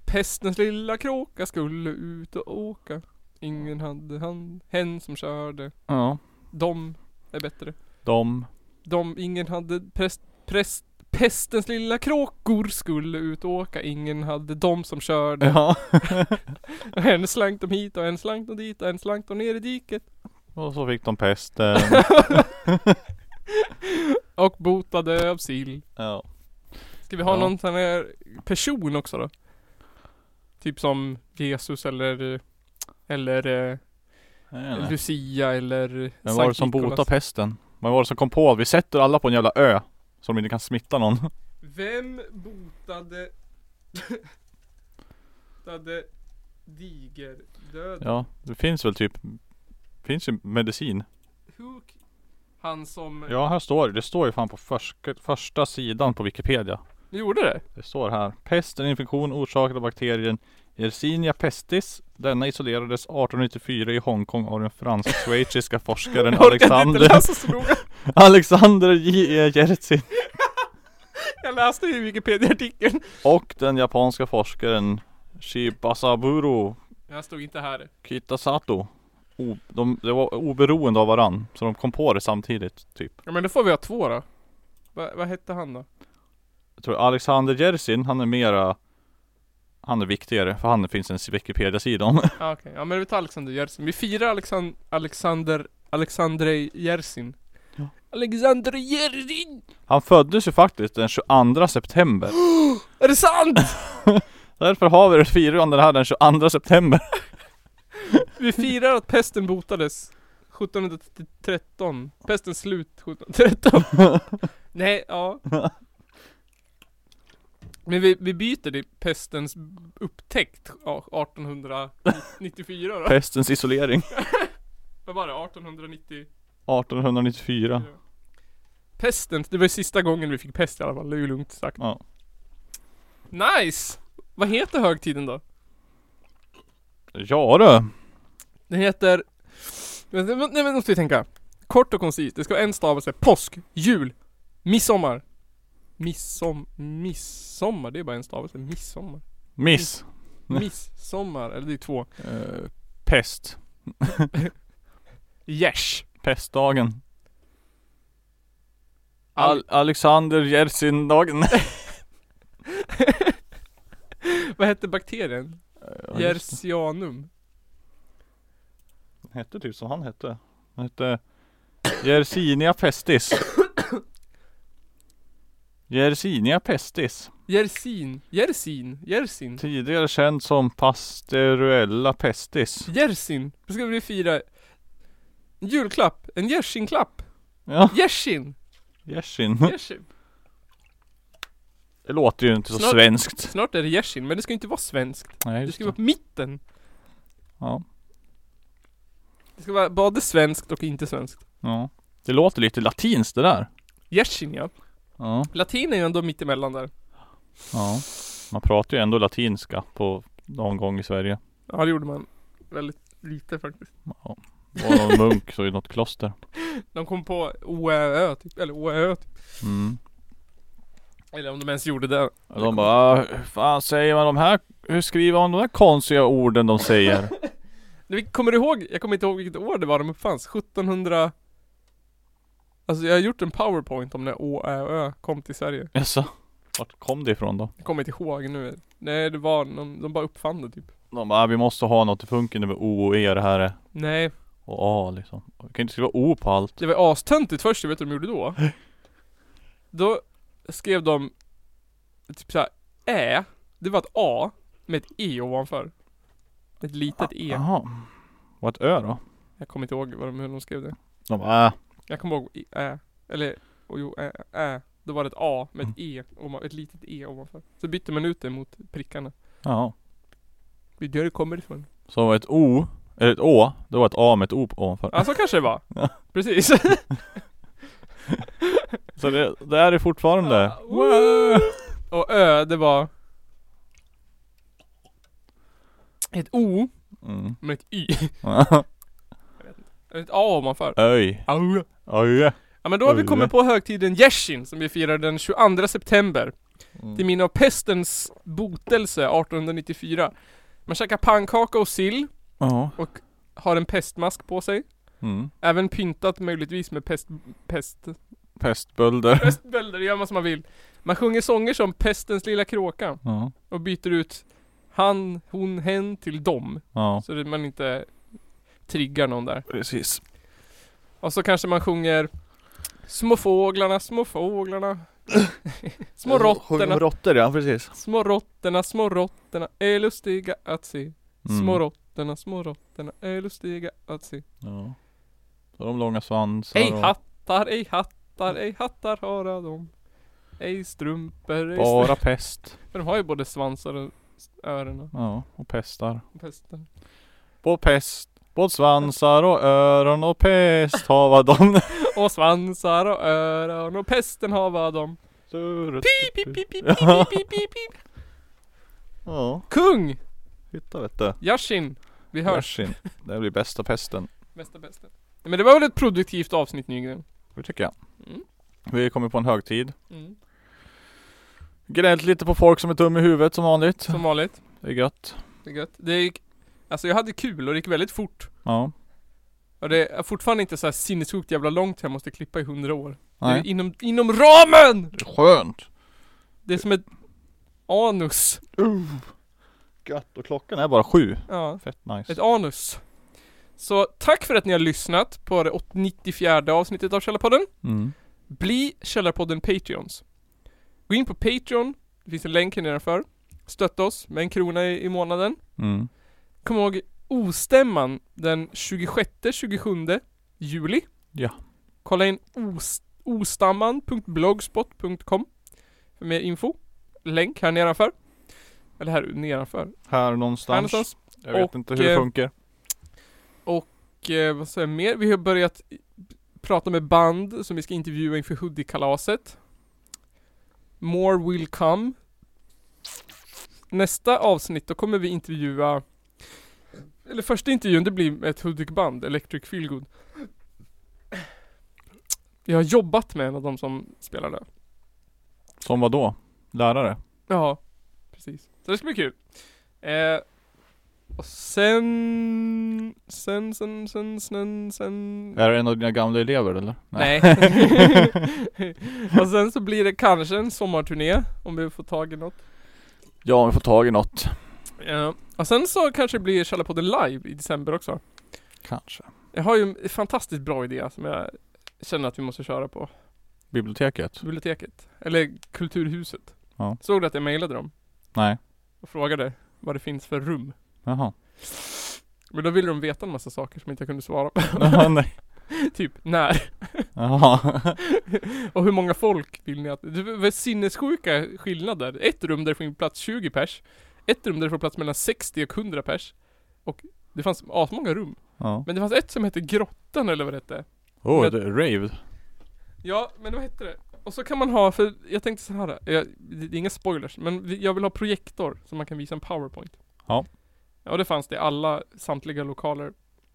Speaker 2: Hästens lilla kråka skulle ut och åka. Ingen hade han, hen som körde.
Speaker 3: Ja.
Speaker 2: De är bättre.
Speaker 3: De.
Speaker 2: De, ingen hade präst, präst, pestens lilla kråkor skulle ut och åka. Ingen hade de som körde.
Speaker 3: Ja.
Speaker 2: Och En slank de hit och en slank de dit och en slank de ner i diket.
Speaker 3: Och så fick de pesten.
Speaker 2: Och botade av sill.
Speaker 3: ja.
Speaker 2: Ska vi ha
Speaker 3: Ja.
Speaker 2: någon sån här person också då? Typ som Jesus eller Eller eh,
Speaker 3: Men
Speaker 2: Lucia eller
Speaker 3: vad
Speaker 2: Sankt
Speaker 3: var det som
Speaker 2: Nikolas.
Speaker 3: botade pesten? Vad var det som kom på att vi sätter alla på en jävla ö? Så de inte kan smitta någon.
Speaker 2: Vem botade Botade digerdöden?
Speaker 3: Ja, det finns väl typ Finns ju medicin.
Speaker 2: Who k- Han som
Speaker 3: Ja, här står det. Det står ju fan på försk- första sidan på Wikipedia.
Speaker 2: gjorde det?
Speaker 3: Det står här. Pest är en infektion orsakad av bakterien Yersinia pestis. Denna isolerades 1894 i Hongkong av den fransk-schweiziska forskaren
Speaker 2: Jag orkade inte
Speaker 3: Alexander,
Speaker 2: läsa så noga.
Speaker 3: Alexander J. E. Yersin
Speaker 2: Jag läste ju Wikipedia-artikeln.
Speaker 3: och den japanska forskaren Shibasaburo
Speaker 2: Jag stod inte här.
Speaker 3: Kitasato. O- de, det var oberoende av varann, så de kom på det samtidigt typ.
Speaker 2: Ja men då får vi ha två då. Va, vad hette han då?
Speaker 3: Jag tror Alexander Jersin, han är mera Han är viktigare för han finns en Wikipedia-sida om.
Speaker 2: Ja Ah, okej, ja men vi tar Alexander Jersin. Vi firar Alexan Alexander Alexandrej Jersin.
Speaker 3: Ja.
Speaker 2: Alexander Jersin!
Speaker 3: Han föddes ju faktiskt den 22 september.
Speaker 2: Är det sant?
Speaker 3: Därför har vi det firande här den 22 september.
Speaker 2: Vi firar att pesten botades 1713. Pestens slut 1713. Nej, ja. Men vi, vi byter till pestens upptäckt ja, 1894 då.
Speaker 3: Pestens isolering.
Speaker 2: Vad var det? 1890?
Speaker 3: 1894.
Speaker 2: Pesten, det var ju sista gången vi fick pest i alla fall, det är ju lugnt sagt.
Speaker 3: Ja.
Speaker 2: Nice! Vad heter högtiden då?
Speaker 3: Ja du.
Speaker 2: Den heter... Nej men nej, men måste vi tänka. Kort och koncist, det ska vara en stavelse. Påsk, jul, midsommar. Missom... Midsommar, det är bara en stavelse. Midsommar.
Speaker 3: Miss.
Speaker 2: Midsommar, eller det är två.
Speaker 3: Eh, pest.
Speaker 2: Yes.
Speaker 3: Pestdagen.
Speaker 2: Al-
Speaker 3: Al- Alexander Jersin-dagen.
Speaker 2: Vad hette bakterien? Yersianum.
Speaker 3: Den hette typ som han hette. Den hette Yersinia pestis. Yersinia pestis.
Speaker 2: Yersin. Yersin. Yersin.
Speaker 3: Tidigare känd som Pasteruella pestis.
Speaker 2: Yersin. Då ska vi fira julklapp. En jersinklapp.
Speaker 3: Ja,
Speaker 2: Yersin.
Speaker 3: Yersin.
Speaker 2: Yersin.
Speaker 3: Det låter ju inte så
Speaker 2: Snart-
Speaker 3: svenskt.
Speaker 2: Snart är det yersin, men det ska inte vara svenskt.
Speaker 3: Nej,
Speaker 2: Det
Speaker 3: just
Speaker 2: ska vara
Speaker 3: det.
Speaker 2: på mitten.
Speaker 3: Ja,
Speaker 2: Det ska vara både svenskt och inte svenskt.
Speaker 3: ja. Det låter lite latinskt det där.
Speaker 2: Yersin ja.
Speaker 3: Ja,
Speaker 2: Latin är ju ändå mittemellan där.
Speaker 3: ja. Man pratar ju ändå latinska på någon gång i Sverige.
Speaker 2: Ja det gjorde man väldigt lite faktiskt.
Speaker 3: Ja. Det var någon munk så i något kloster.
Speaker 2: De kom på OÖ typ, eller OÖ typ.
Speaker 3: Mm.
Speaker 2: Eller om de ens gjorde det.
Speaker 3: Och De bara, "Ah, hur fan säger man de här? Hur skriver man de där konstiga orden de säger?
Speaker 2: Men Kommer du ihåg, jag kommer inte ihåg vilket år det var de uppfanns. 1700 Alltså jag har gjort en powerpoint om när OÖ kom till Sverige.
Speaker 3: Jaså? Vart kom det ifrån då?
Speaker 2: Jag kommer inte ihåg nu. Nej det var någon, de bara uppfann det typ.
Speaker 3: De bara, "Ah, vi måste ha något i funken över O och E det här är.
Speaker 2: Nej,
Speaker 3: Och A liksom. Vi kan inte skriva O på allt.
Speaker 2: det var astöntigt först, jag vet du vad de gjorde då? Då skrev de typ såhär Ä, det var ett A med ett E ovanför. Ett litet E.
Speaker 3: Jaha. Och ett Ö då?
Speaker 2: Jag kommer inte ihåg vad de, hur de skrev det.
Speaker 3: De bara, äh,
Speaker 2: Jag kommer ihåg i- Ä, eller oh, jo, Ä, Ä. Då var det ett A med ett E, ovan, ett litet E ovanför. Så bytte man ut det mot prickarna.
Speaker 3: jaha.
Speaker 2: Det är där det kommer ifrån.
Speaker 3: Så var ett O, eller ett Å, det var ett A med ett O på- ovanför.
Speaker 2: Ja så kanske det var.
Speaker 3: Ja.
Speaker 2: Precis.
Speaker 3: Så det, det är det fortfarande.
Speaker 2: Wow. Och Ö, det var ett O
Speaker 3: Mm.
Speaker 2: med ett Y. Ett A ovanför.
Speaker 3: Öj. Öje.
Speaker 2: Ja men då har vi
Speaker 3: Öle.
Speaker 2: kommit på högtiden Yeshin som vi firar den 22 september. till minne av pestens botelse 1894. Man käkar pannkaka och sill,
Speaker 3: Ja.
Speaker 2: har en pestmask på sig.
Speaker 3: Mm.
Speaker 2: Även pyntat möjligtvis med pest, pest,
Speaker 3: Pestbölder.
Speaker 2: pestbölder, gör man som man vill. Man sjunger sånger som Pestens lilla kråka
Speaker 3: Ja.
Speaker 2: och byter ut han, hon, hen till dom.
Speaker 3: Ja.
Speaker 2: Så att man inte triggar någon där.
Speaker 3: Precis.
Speaker 2: Och så kanske man sjunger Små fåglarna, små fåglarna Små råttorna,
Speaker 3: Råttor ja, precis.
Speaker 2: små råttorna, små råttorna är lustiga att se Små
Speaker 3: Mm.
Speaker 2: råttorna, små råttorna är lustiga att se
Speaker 3: Ja. Så de långa svansar
Speaker 2: Ej
Speaker 3: och
Speaker 2: hattar, ej hattar, ej hattar hara de Ej strumpor, ej strumpor
Speaker 3: bara pest.
Speaker 2: För de har ju både svansar och s- öron och
Speaker 3: Ja, och pestar.
Speaker 2: pesten
Speaker 3: Både pest, både svansar och öron och pest hava de.
Speaker 2: Och svansar och öron och pesten hava de Pip, pip, pip, pip,
Speaker 3: Ja.
Speaker 2: pip, pip, pip, pip.
Speaker 3: Ja,
Speaker 2: Kung!
Speaker 3: hitta vet du.
Speaker 2: Yashin! Vi hörs!
Speaker 3: Bärsin. Det blir bästa pesten.
Speaker 2: Bästa bästa. Men det var väl ett produktivt avsnitt Nygren?
Speaker 3: Det tycker jag.
Speaker 2: Mm.
Speaker 3: Vi kommer på en högtid.
Speaker 2: Mm.
Speaker 3: Gnällt lite på folk som är dum i huvudet som vanligt.
Speaker 2: Som vanligt.
Speaker 3: Det är gött.
Speaker 2: Det är gött. Det gick... Alltså jag hade kul och det gick väldigt fort.
Speaker 3: Ja.
Speaker 2: Och det är fortfarande inte så här sinnessjukt jävla långt jag måste klippa i hundra år. Det är
Speaker 3: Nej.
Speaker 2: inom, inom ramen!
Speaker 3: Skönt.
Speaker 2: Det är som ett anus.
Speaker 3: Gött. Och klockan är bara sju.
Speaker 2: Ja,
Speaker 3: Fett nice.
Speaker 2: ett anus. Så tack för att ni har lyssnat på det 94 avsnittet av Källarpodden.
Speaker 3: Mm.
Speaker 2: Bli Källarpodden Patreons. Gå in på Patreon, det finns en länk här nedanför. Stötta oss med en krona i, i månaden.
Speaker 3: Mm.
Speaker 2: Kom ihåg ostämman den 26-27 juli.
Speaker 3: Ja.
Speaker 2: Kolla in os- ostamman.blogspot.com för mer info. Länk här nedanför. Eller här nedanför.
Speaker 3: Här
Speaker 2: Här
Speaker 3: någonstans.
Speaker 2: någonstans.
Speaker 3: Jag vet
Speaker 2: Och,
Speaker 3: inte hur det
Speaker 2: eh,
Speaker 3: funkar.
Speaker 2: Och eh, vad säger jag mer? Vi har börjat i- prata med band som vi ska intervjua inför Hoodie-kalaset. More will come. Nästa avsnitt, då kommer vi intervjua eller första intervjun, det blir ett Hudik-band, Electric Feelgood. Jag har jobbat med en av de som spelar där.
Speaker 3: Som vad då? Lärare?
Speaker 2: Ja, precis. Så det ska bli kul. Eh, och sen... Sen, sen, sen, sen, sen...
Speaker 3: Är det en av dina gamla elever eller?
Speaker 2: Nej. och sen så blir det kanske en sommarturné om vi får tag i något.
Speaker 3: Ja, om vi får tag i något.
Speaker 2: Ja. Och sen så kanske det blir Källarpodden live i december också.
Speaker 3: Kanske.
Speaker 2: Jag har ju en fantastiskt bra idé som jag känner att vi måste köra på.
Speaker 3: Biblioteket?
Speaker 2: Biblioteket. Eller Kulturhuset.
Speaker 3: Ja.
Speaker 2: Såg du att jag mejlade dem?
Speaker 3: Nej.
Speaker 2: Och frågade vad det finns för rum.
Speaker 3: Jaha.
Speaker 2: Men då ville de veta en massa saker som inte jag kunde svara på.
Speaker 3: Jaha, Nej.
Speaker 2: typ när.
Speaker 3: Jaha.
Speaker 2: Och hur många folk vill ni att... Det var sinnessjuka skillnader. Ett rum där det finns plats 20 pers. Ett rum där det får plats mellan 60 och 100 pers. Och det fanns asmånga rum.
Speaker 3: Ja.
Speaker 2: Men det fanns ett som hette Grottan eller vad det hette.
Speaker 3: Oh, det är rave.
Speaker 2: Ja, men vad hette det? Och så kan man ha, för jag tänkte så här. Jag, det är inga spoilers, men vi- jag vill ha projektor som man kan visa en powerpoint.
Speaker 3: Ja.
Speaker 2: Ja, och det fanns det i alla, samtliga lokaler.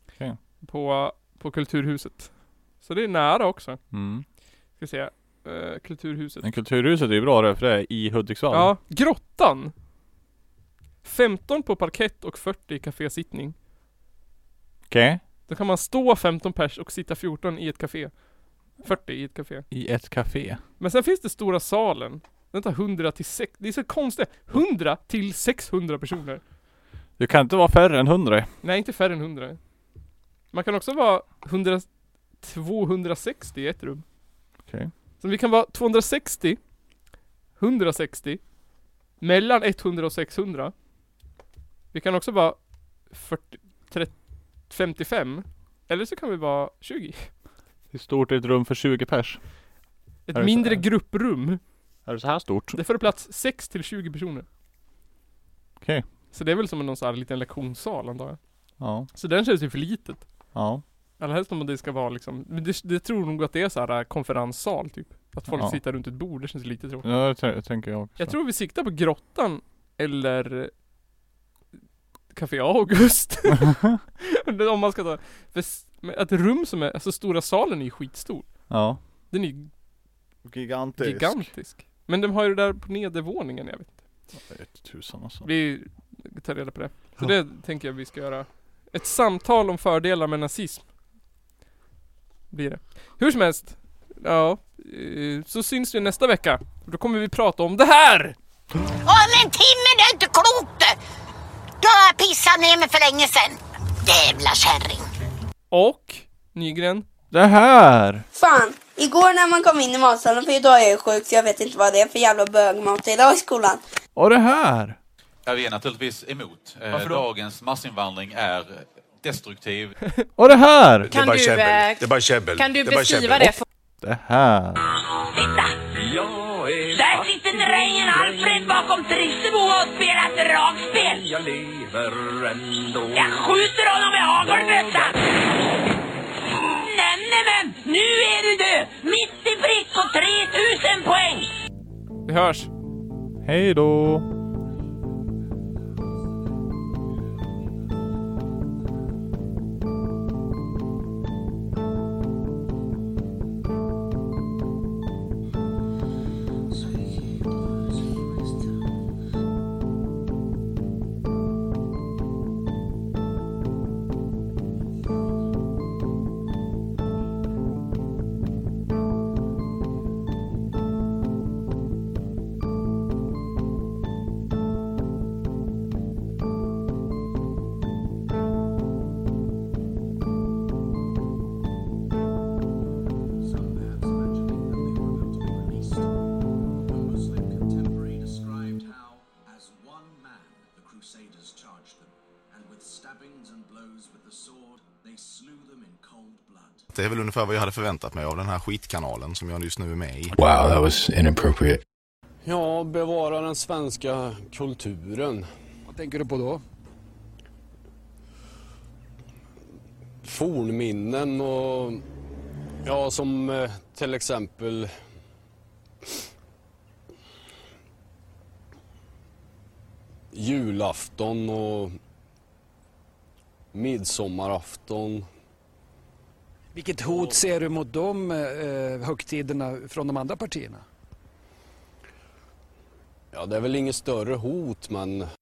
Speaker 3: Okej.
Speaker 2: På, på Kulturhuset. Så det är nära också.
Speaker 3: Mm.
Speaker 2: Ska se. eh, kulturhuset.
Speaker 3: Men Kulturhuset är ju bra det, för det är i Hudiksvall.
Speaker 2: Ja, Grottan. 15 på parkett och 40 i kafésittning.
Speaker 3: Okej.
Speaker 2: Då kan man stå 15 pers och sitta 14 i ett café. 40 i ett café.
Speaker 3: I ett café.
Speaker 2: Men sen finns det stora salen. Den tar 100 till 6, det är så konstigt. 100 till 600 personer.
Speaker 3: Du kan inte vara färre än 100.
Speaker 2: Nej, inte färre än 100. Man kan också vara 100, 260 i ett rum.
Speaker 3: Okej.
Speaker 2: Så vi kan vara 260, 160, mellan 100 och 600. Vi kan också vara 40, 30, 55, eller så kan vi vara 20.
Speaker 3: Hur stort är ett rum för 20 pers?
Speaker 2: Ett
Speaker 3: Är det så-
Speaker 2: mindre grupprum.
Speaker 3: Är det så här stort?
Speaker 2: Det får plats 6 till 20 personer.
Speaker 3: Okej.
Speaker 2: Så det är väl som en någon sån här liten lektionssal antar jag.
Speaker 3: Ja.
Speaker 2: Så den känns ju för litet.
Speaker 3: Ja.
Speaker 2: Allra helst om det ska vara liksom, men det, det tror nog att det är så här äh, konferenssal typ. Att folk
Speaker 3: Ja.
Speaker 2: sitter runt ett bord, det känns lite tråkigt.
Speaker 3: Ja, det t- det tänker jag också.
Speaker 2: Jag tror vi siktar på Grottan eller eh, Café August. Men om man ska ta, för s- men att rum som är, alltså stora salen är ju skitstor.
Speaker 3: Ja.
Speaker 2: Den är ju
Speaker 3: Gigantisk.
Speaker 2: gigantisk. Men de har ju det där på nedervåningen, jag vet inte.
Speaker 3: Ett tusan alltså.
Speaker 2: Vi tar reda på det. Så det tänker jag vi ska göra. Ett samtal om fördelar med nazism. Blir det. Hur som helst. Ja, eh, så syns vi nästa vecka. Då kommer vi prata om det här!
Speaker 10: Åh men Timmy det är inte klokt! Du har pissat ner mig för länge sedan. Jävla kärring.
Speaker 2: Och Nygren,
Speaker 3: Det här!
Speaker 9: Fan, igår när man kom in i matsalen, för idag är jag sjuk så jag vet inte vad det är för jävla bögmat idag i skolan.
Speaker 3: Och det här!
Speaker 11: Ja, vi är naturligtvis emot. Eh,
Speaker 2: Varför då?
Speaker 11: Dagens massinvandring är destruktiv.
Speaker 3: Och det här!
Speaker 5: Kan du, eh,
Speaker 8: Det är bara käbbel.
Speaker 5: kan du
Speaker 8: är bara
Speaker 5: beskriva
Speaker 8: käbbel.
Speaker 5: det? För...
Speaker 3: Det här!
Speaker 10: Där sitter drängen Alfred bakom Trissebo och spelar dragspel. Jag lever ändå. Jag skjuter honom med hagelbössa. Nämen, nu är du död! Mitt i prick på 3000 poäng!
Speaker 2: vi hörs!
Speaker 3: Hej då!
Speaker 8: Det är väl ungefär vad jag hade förväntat mig av den här skitkanalen som jag just nu är med i.
Speaker 4: Wow, that was inappropriate. Ja, bevara den svenska kulturen.
Speaker 6: Vad tänker du på då?
Speaker 4: Fornminnen och... Ja, som eh, till exempel... Julafton och midsommarafton.
Speaker 6: Vilket hot ser du mot de eh, högtiderna från de andra partierna?
Speaker 4: Ja, det är väl inget större hot, men